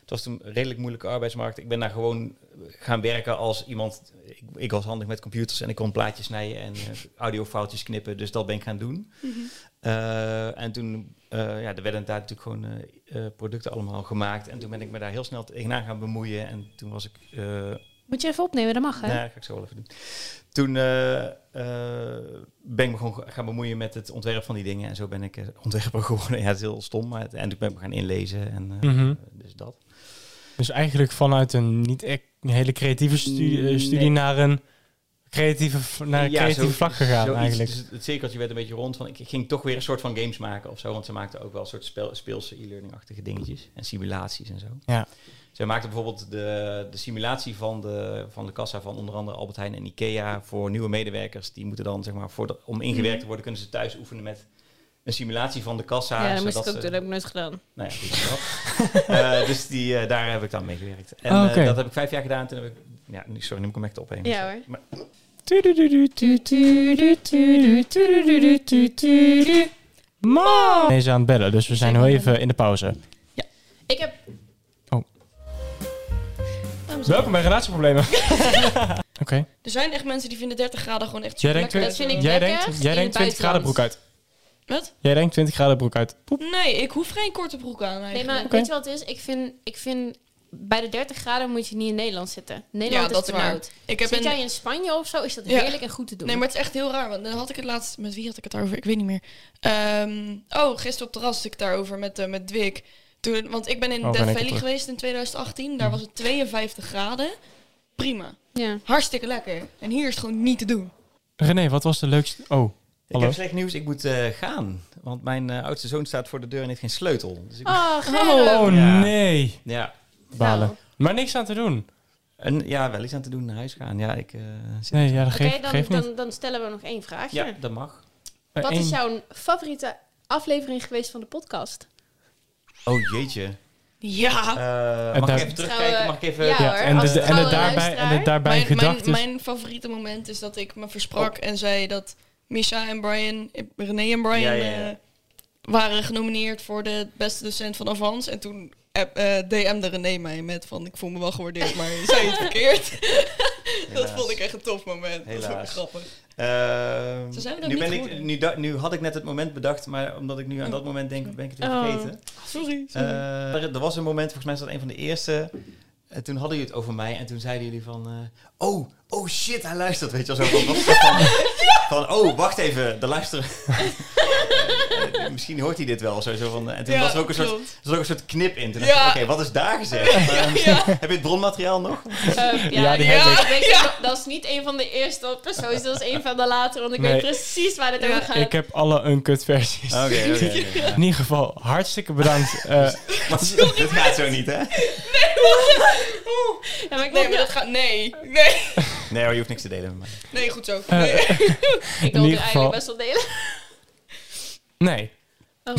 Speaker 1: het was toen een redelijk moeilijke arbeidsmarkt. Ik ben daar gewoon gaan werken als iemand... Ik, ik was handig met computers en ik kon plaatjes snijden en eh, audiofoutjes knippen. Dus dat ben ik gaan doen.
Speaker 4: Mhm.
Speaker 1: Eh, en toen eh, ja, er werden daar natuurlijk gewoon eh, eh, producten allemaal gemaakt. En toen ben ik me daar heel snel tegenaan gaan bemoeien. En toen was ik... eh,
Speaker 2: Moet je even opnemen, dat mag hè?
Speaker 1: nou, dat ga ik zo wel even doen. Toen eh, eh, ben ik me gewoon gaan bemoeien met het ontwerp van die dingen. En zo ben ik eh, ontwerper <laughs> geworden. Ja, het is heel stom. Maar het- en toen ben ik me gaan inlezen. En, eh,
Speaker 3: Mhm.
Speaker 1: Dus dat.
Speaker 3: Dus eigenlijk vanuit een niet echt een hele creatieve studie, eh,
Speaker 1: Nee.
Speaker 3: studie naar een creatieve, v- naar een
Speaker 1: Ja,
Speaker 3: creatieve
Speaker 1: zo-
Speaker 3: vlak gegaan
Speaker 1: zoiets.
Speaker 3: eigenlijk.
Speaker 1: Dus het- het cirkeltje werd een beetje rond. Van, ik ik ging toch weer een soort van games maken of zo. Want ze maakten ook wel een soort spel, speelse e-learning-achtige dingetjes. En simulaties en zo.
Speaker 3: Ja.
Speaker 1: Zij maakten bijvoorbeeld de, de simulatie van de, van de kassa van onder andere Albert Heijn en Ikea voor nieuwe medewerkers. Die moeten dan, zeg maar, voor de- om ingewerkt
Speaker 2: Mhm.
Speaker 1: te worden, kunnen ze thuis oefenen met een simulatie van de kassa.
Speaker 2: Ja, dat moest ik
Speaker 1: zodat
Speaker 3: eh,
Speaker 2: ook doen.
Speaker 1: ze-
Speaker 2: Dat heb ik nooit gedaan.
Speaker 1: nou ja, goed, dat.
Speaker 2: <laughs>
Speaker 1: Eh, dus die, eh, daar heb ik dan mee gewerkt. En
Speaker 3: Oh,
Speaker 1: eh,
Speaker 3: oké.
Speaker 1: dat heb ik vijf jaar gedaan. Toen heb ik, ja, nu- sorry, nu moet ik hem echt opnemen.
Speaker 2: Ja hoor.
Speaker 1: Maar-
Speaker 3: Mam! Deze aan het bellen, dus we zijn heel even in de pauze.
Speaker 2: Ik heb...
Speaker 3: Welkom bij Relatieproblemen. Oké.
Speaker 4: Er zijn echt mensen die vinden 30 graden gewoon echt
Speaker 3: Jij
Speaker 4: super
Speaker 3: denkt,
Speaker 2: dat vind ik
Speaker 3: jij
Speaker 2: lekker
Speaker 3: denkt,
Speaker 2: in
Speaker 3: jij
Speaker 2: het
Speaker 3: denkt 20 graden broek uit.
Speaker 4: Wat?
Speaker 3: Jij denkt 20 graden broek uit. Poep.
Speaker 4: Nee, ik hoef geen korte broek aan eigenlijk.
Speaker 2: Nee, maar
Speaker 3: Oké.
Speaker 2: weet je wat het is? Ik vind, ik vind... Bij de 30 graden moet je niet in Nederland zitten. Nederland
Speaker 4: dat
Speaker 2: is
Speaker 4: is waar.
Speaker 2: benauwd.
Speaker 4: ik heb
Speaker 2: Zit
Speaker 4: een,
Speaker 2: jij in Spanje of zo, is dat
Speaker 4: Ja.
Speaker 2: heerlijk en goed te doen.
Speaker 4: Nee, maar het is echt heel raar. Want dan had ik het laatst... Met wie had ik het daarover? Ik weet niet meer. Ehm, oh, gisteren op het terras had ik het daarover met, eh, met Dwik. Toen, want ik ben in
Speaker 3: Oh, ben
Speaker 4: Death
Speaker 3: ik er
Speaker 4: Valley
Speaker 3: terug. Hm.
Speaker 4: geweest in 2018. Daar was het 52 graden. Prima.
Speaker 2: Ja.
Speaker 4: Hartstikke lekker. En hier is het gewoon niet te doen.
Speaker 3: René, wat was de leukste... Oh,
Speaker 1: Ik
Speaker 3: Hallo?
Speaker 1: heb slecht nieuws, ik moet eh, gaan. Want mijn eh, oudste zoon staat voor de deur en heeft geen sleutel. Dus ik moet-
Speaker 2: Oh,
Speaker 4: Oh,
Speaker 3: oh
Speaker 1: Ja.
Speaker 3: nee.
Speaker 1: ja,
Speaker 3: Balen.
Speaker 2: Nou.
Speaker 3: Maar niks aan te doen.
Speaker 1: en, ja, wel iets aan te doen, naar huis gaan. Ja, ik, eh, zit-
Speaker 3: Nee, ja, dat
Speaker 2: Oké,
Speaker 3: geeft,
Speaker 2: dan,
Speaker 3: geeft niet.
Speaker 2: dan, dan stellen we nog één vraagje.
Speaker 1: ja dat mag.
Speaker 3: Eh,
Speaker 2: Wat
Speaker 3: één-
Speaker 2: is jouw favoriete aflevering geweest van de podcast?
Speaker 1: Oh jeetje.
Speaker 4: Ja.
Speaker 1: Eh,
Speaker 3: En
Speaker 1: mag
Speaker 3: daar-
Speaker 1: ik even terugkijken? Mag ik even...
Speaker 2: Ja,
Speaker 3: Ja,
Speaker 2: hoor,
Speaker 3: en
Speaker 2: als
Speaker 3: de, en de
Speaker 2: trouwe
Speaker 3: daarbij, en
Speaker 2: luisteraar.
Speaker 3: de daarbij
Speaker 4: Mijn, mijn,
Speaker 3: gedachten.
Speaker 4: mijn favoriete moment is dat ik me versprak
Speaker 2: Oh.
Speaker 4: en zei dat Misha en Brian... eh, René en Brian...
Speaker 1: Ja, ja, ja.
Speaker 4: eh, waren genomineerd voor de beste docent van Avans. En toen app- eh, DM'de René mij met van... Ik voel me wel gewaardeerd, maar je
Speaker 2: <laughs>
Speaker 4: zei het verkeerd. <laughs>
Speaker 1: Helaas.
Speaker 4: Dat vond ik echt een tof moment. Dat vond ik
Speaker 1: Helaas.
Speaker 4: grappig.
Speaker 1: Ehm,
Speaker 4: Zo zijn we dat
Speaker 1: nu,
Speaker 4: niet
Speaker 1: ben ik,
Speaker 4: geworden. Oh.
Speaker 1: nu, da- nu had ik net het moment bedacht, maar omdat ik nu aan dat moment denk, ben ik het weer
Speaker 2: Oh.
Speaker 1: vergeten.
Speaker 4: Sorry.
Speaker 1: Eh, er, er was een moment, volgens mij is dat een van de eerste. En toen hadden jullie het over mij en toen zeiden jullie van... eh, oh, oh shit, hij luistert, weet je wel. Zo van, wat-
Speaker 4: <laughs>
Speaker 1: van, van, oh, wacht even, de luisteren... <laughs> Eh, Misschien hoort hij dit wel, zo, zo van... eh, En toen was er ook een soort,
Speaker 4: klopt.
Speaker 1: er was ook een soort knip in. Toen dacht ik,
Speaker 4: Ja.
Speaker 1: oké, wat is daar
Speaker 4: <laughs>
Speaker 1: gezegd? Eh, Heb je het bronmateriaal nog?
Speaker 2: Eh,
Speaker 3: <laughs> Ja, die
Speaker 4: heb ik.
Speaker 2: weet je, dat- dat is niet een van de eerste persoons, dat is een van de latere, want ik
Speaker 3: Nee.
Speaker 2: weet precies waar het
Speaker 4: Ja,
Speaker 2: over gaat.
Speaker 3: Ik heb alle uncut versies.
Speaker 1: Oké, oké. oké.
Speaker 3: <laughs> In ieder geval, hartstikke bedankt. eh,
Speaker 1: Maar <laughs> dit gaat zo niet, hè?
Speaker 2: Ja, maar ik,
Speaker 4: Nee,
Speaker 2: wil-
Speaker 4: maar dat gaat... Nee. Nee, <laughs>
Speaker 1: Nee hoor, je hoeft niks te delen met mij.
Speaker 4: nee goed zo.
Speaker 3: eh,
Speaker 4: Nee. <laughs>
Speaker 2: ik
Speaker 3: in
Speaker 2: wil het
Speaker 3: ieder
Speaker 2: eigenlijk
Speaker 3: geval-
Speaker 2: best wel delen. <laughs>
Speaker 3: nee.
Speaker 2: Oh.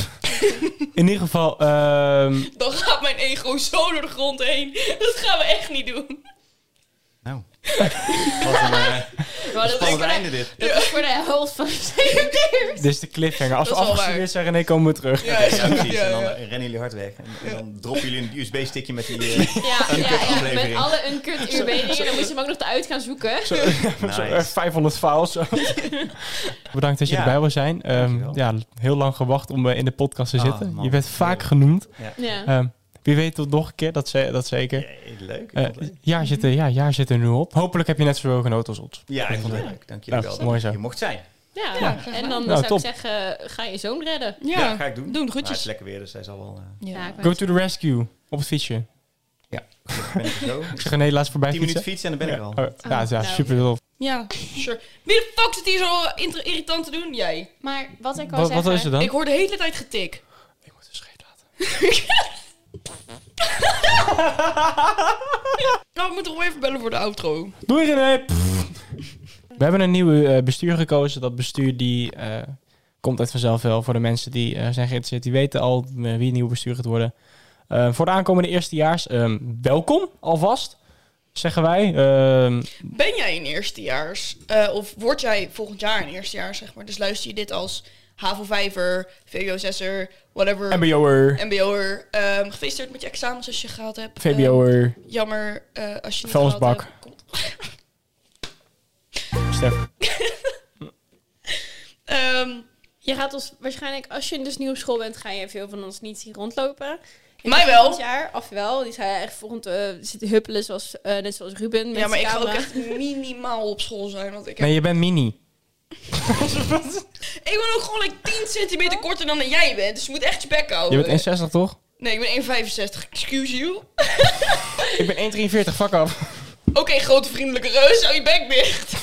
Speaker 3: In ieder geval, ehm,
Speaker 4: <laughs> Dan gaat mijn ego zo door de grond heen. Dat gaan we echt niet doen. <laughs>
Speaker 1: Nou, Wat een eh,
Speaker 4: Oh,
Speaker 2: Maar dat, is
Speaker 1: spannend
Speaker 2: voor de,
Speaker 1: einde dit.
Speaker 2: dat is voor de helft van de CMD'ers.
Speaker 3: Dit is de cliffhanger. Als we
Speaker 4: Dat is wel
Speaker 3: afgestudeerd zijn, René, komen we terug.
Speaker 4: Ja,
Speaker 1: Ja, precies.
Speaker 4: ja,
Speaker 1: En dan
Speaker 4: ja.
Speaker 1: eh, rennen jullie hard weg. En, en dan droppen jullie een USB-stickje met
Speaker 3: <laughs>
Speaker 1: die... eh,
Speaker 2: Ja, ja, ja, met
Speaker 1: aflevering.
Speaker 2: alle uncut ub dingen Dan moest je hem ook nog eruit gaan zoeken.
Speaker 3: Zo, zo, eh, 500 files. zo. Bedankt dat je
Speaker 1: Ja.
Speaker 3: erbij wil zijn. Ehm,
Speaker 1: Dankjewel.
Speaker 3: ja, heel lang gewacht om eh, in de podcast te
Speaker 1: Ah,
Speaker 3: zitten.
Speaker 1: man.
Speaker 3: Je bent vaak
Speaker 1: Heerlijk.
Speaker 3: genoemd.
Speaker 2: Ja.
Speaker 3: Ehm, wie weet tot nog een keer, dat, ze- dat zeker.
Speaker 1: Jee, leuk. Ik
Speaker 3: Eh,
Speaker 1: vond het leuk.
Speaker 3: jaar, zit er, ja, jaar zit er nu op. Hopelijk heb je net zoveel genoten als ons.
Speaker 1: Ja, ik vond het leuk. Dank jullie
Speaker 3: Nou,
Speaker 1: wel.
Speaker 3: mooi zo.
Speaker 1: Je mocht zijn.
Speaker 2: Ja,
Speaker 4: Ja.
Speaker 2: en dan
Speaker 3: Nou,
Speaker 2: zou
Speaker 3: top.
Speaker 2: ik zeggen, ga je zoon redden.
Speaker 1: Ja,
Speaker 4: Ja,
Speaker 1: ga ik doen.
Speaker 4: doen de
Speaker 1: Maar het is
Speaker 4: groetjes.
Speaker 1: lekker weer, dus hij zal wel... eh,
Speaker 2: Ja, ik
Speaker 4: Ja.
Speaker 2: wou
Speaker 3: Go
Speaker 2: net
Speaker 3: to the rescue. Op het fietsje.
Speaker 1: gelukkig ben ik er zo.
Speaker 3: Ik zag René laatst voorbij
Speaker 1: 10
Speaker 3: fietsen.
Speaker 1: minuten fietsen en dan ben ik er al.
Speaker 3: Ja, oh, ja,
Speaker 2: Oh,
Speaker 3: ja,
Speaker 2: nou.
Speaker 3: super tof.
Speaker 4: ja, sure. Wie de fuck zit hier zo inter- irritant te doen? Jij.
Speaker 2: zeggen- Maar wat ik wou
Speaker 3: Wat, wat
Speaker 2: zeggen...
Speaker 3: is er dan?
Speaker 4: Ik hoor de hele tijd getik.
Speaker 3: Ik moet een scheet laten.
Speaker 4: Nou, we moeten gewoon even bellen voor de outro.
Speaker 3: Doei René! Pff. We hebben een nieuw eh, bestuur gekozen. Dat bestuur die eh, komt uit vanzelf wel. Voor de mensen die eh, zijn geïnteresseerd, die weten al eh, wie het nieuwe bestuur gaat worden. Eh, voor de aankomende eerstejaars, ehm, welkom alvast, zeggen wij. Ehm,
Speaker 4: Ben jij een eerstejaars? Eh, of word jij volgend jaar een eerstejaars, zeg maar? Dus luister je dit als HAVO-vijver, VWO-zesser, whatever,
Speaker 3: MBO'er,
Speaker 4: MBO'er. Ehm, gefeliciteerd met je examens als je gehaald hebt.
Speaker 3: VBO'er,
Speaker 4: Ehm, jammer eh, als je niet gehaald
Speaker 3: Vuilnisbak.
Speaker 4: hebt. Komt-
Speaker 3: Stef.
Speaker 4: Ehm,
Speaker 2: Je gaat ons waarschijnlijk, als je dus nieuw op school bent, ga je veel van ons niet zien rondlopen. Ik
Speaker 4: Mij
Speaker 2: heb
Speaker 4: wel.
Speaker 2: Dit jaar, of wel. Die zijn echt volgend eh zitten huppelen, zoals, eh, net zoals Ruben. met
Speaker 4: ja, maar
Speaker 2: zijn
Speaker 4: ik ga ook
Speaker 2: camera.
Speaker 4: echt minimaal op school zijn. Want ik, heb,
Speaker 3: Nee, je bent mini.
Speaker 4: ik ben ook gewoon like 10 centimeter korter dan jij bent. Dus je moet echt je bek
Speaker 3: Je
Speaker 4: houden.
Speaker 3: bent 61 toch?
Speaker 4: nee, ik ben 1,65. Excuse you.
Speaker 3: Ik ben 1,43, fuck af.
Speaker 4: Oké, grote vriendelijke reus, hou je bek dicht. <laughs>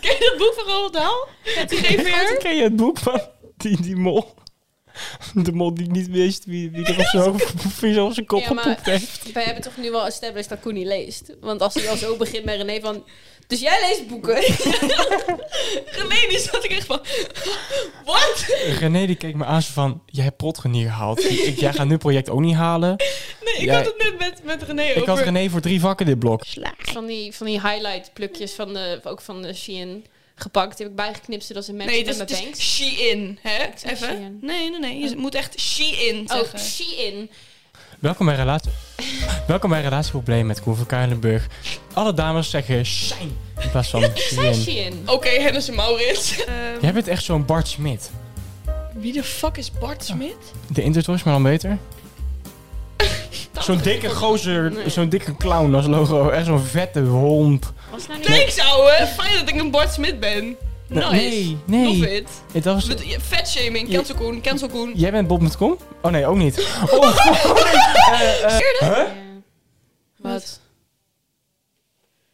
Speaker 4: Ken je dat boek van Roald Dahl? Het gegeven
Speaker 3: Ken je het boek van die, die mol? De mol die niet wist wie, wie er op
Speaker 2: <laughs>
Speaker 3: zijn hoofd- wie er op zijn kop
Speaker 2: Ja, maar-
Speaker 3: gepoept
Speaker 2: <laughs>
Speaker 3: heeft.
Speaker 2: Wij hebben toch nu wel established dat Koen niet leest. Want als hij al zo begint met René van... Dus jij leest
Speaker 4: <laughs>
Speaker 2: boeken? <laughs>
Speaker 4: Geleden zat ik echt van... Wat?
Speaker 3: René die keek me aan zo van, jij hebt Protgen niet gehaald. Ik, jij gaat nu project ook niet
Speaker 2: <laughs>
Speaker 3: halen.
Speaker 4: Nee, ik
Speaker 3: Jij-
Speaker 4: had het net met, met René
Speaker 3: Ik
Speaker 4: over.
Speaker 3: had René voor drie vakken dit blok.
Speaker 2: Van die, van die highlight plukjes van de, ook van de Shein gepakt. Die heb ik bijgeknipt zodat ze mensen
Speaker 4: Nee, dus het is,
Speaker 2: met
Speaker 4: het
Speaker 2: mijn
Speaker 4: is
Speaker 2: banks.
Speaker 4: she-in, Oh. hè?
Speaker 2: zei
Speaker 4: Even.
Speaker 2: Shein.
Speaker 4: Nee, nee, nee. Je moet echt she-in
Speaker 2: Oh,
Speaker 4: zeggen.
Speaker 2: Shein.
Speaker 3: Welkom bij
Speaker 2: <laughs>
Speaker 3: relatie... Welkom bij Relatieprobleem met Koen van Kuilenburg. Alle dames zeggen zijn in plaats van
Speaker 2: Zij
Speaker 3: zijn.
Speaker 2: Shein.
Speaker 4: Oké, Hennis en Maurits. Ehm,
Speaker 3: Jij bent echt zo'n Bart Smit.
Speaker 4: Wie de fuck is
Speaker 3: Ah.
Speaker 4: Bart Smit?
Speaker 3: De intro's, maar dan
Speaker 2: <laughs>
Speaker 3: beter. Zo'n dikke gozer,
Speaker 2: Nee.
Speaker 3: zo'n dikke clown als logo. Echt zo'n vette homp.
Speaker 2: Was nou niet...
Speaker 4: Thanks, ouwe. Fijn dat ik een Bart Smit ben. Nice.
Speaker 3: Nee, nee.
Speaker 4: Love it.
Speaker 3: Het was...
Speaker 4: Met- je- Vetshaming, cancel Koen, cancel Koen.
Speaker 3: Jij bent Bob.com? Oh nee, ook niet.
Speaker 4: <laughs>
Speaker 3: Oh, god. Eh, eh, huh?
Speaker 2: Ja. Wat?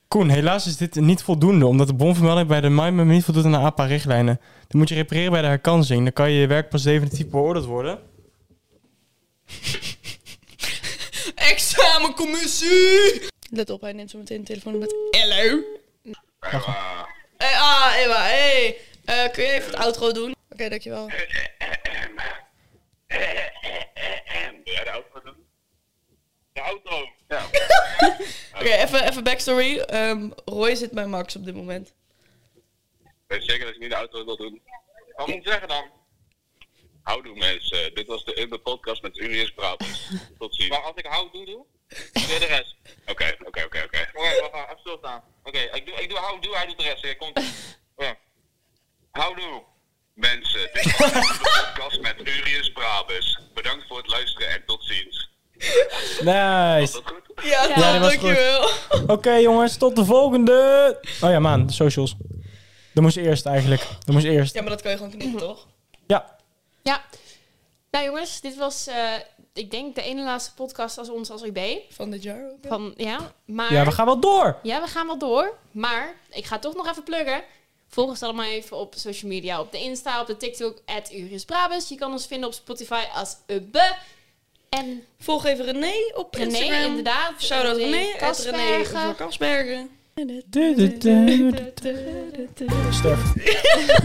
Speaker 3: Koen, helaas is dit niet voldoende, omdat de bonvermelding bij de MIME niet voldoet aan de APA-richtlijnen. Dan moet je repareren bij de herkansing. Dan kan je je werk pas definitief beoordeeld worden.
Speaker 4: Examencommissie! Let op, hij neemt zo meteen de telefoon met... Hello! Hey, ah, Emma, hey! Eh, kun je even het outro doen? Oké, dankjewel.
Speaker 5: Ja, de auto doen. De auto. Ja.
Speaker 4: Oké, even, even backstory. Ehm, Roy zit bij Max op dit moment.
Speaker 5: Weet je zeker dat je niet de auto wil doen? Wat moet ik zeggen dan? Houdoe mensen, dit was de Uber podcast met Urius Brabus. Tot ziens. Maar als ik houdoe doe, doe de rest. Oké, oké, oké, oké. Oké, wacht, wacht, afstand staan. Oké, ik doe, ik doe houdoe, hij doet de rest. Oké, Komt. Ja. Houdoe mensen, dit was de Uber podcast met Urius Brabus. Bedankt voor het luisteren en tot ziens. Is
Speaker 3: Nice.
Speaker 5: dat goed?
Speaker 4: Ja,
Speaker 3: Ja, die was goed.
Speaker 4: dankjewel.
Speaker 3: Oké jongens, tot de volgende. Oh ja, man, de socials. Dat moest eerst eigenlijk. Dat moest eerst.
Speaker 4: Ja, maar dat kan je gewoon knippen, toch?
Speaker 3: Ja.
Speaker 2: Ja. Nou jongens, dit was eh, ik denk de ene laatste podcast als ons als IB.
Speaker 4: Van dit jaar ook. ja.
Speaker 2: Van, ja, maar...
Speaker 3: Ja, we gaan wel door.
Speaker 2: Ja, we gaan wel door. Maar ik ga toch nog even pluggen. Volg ons allemaal even op social media. Op de Insta, op de TikTok, at Uris Brabus. Je kan ons vinden op Spotify als Ubbe. En
Speaker 4: Volg even René op
Speaker 2: René,
Speaker 4: Instagram.
Speaker 2: inderdaad.
Speaker 4: Shout-out René, at René
Speaker 2: Kasbergen.
Speaker 4: voor Kasbergen.
Speaker 3: Du- du- du- du- du- Sterf.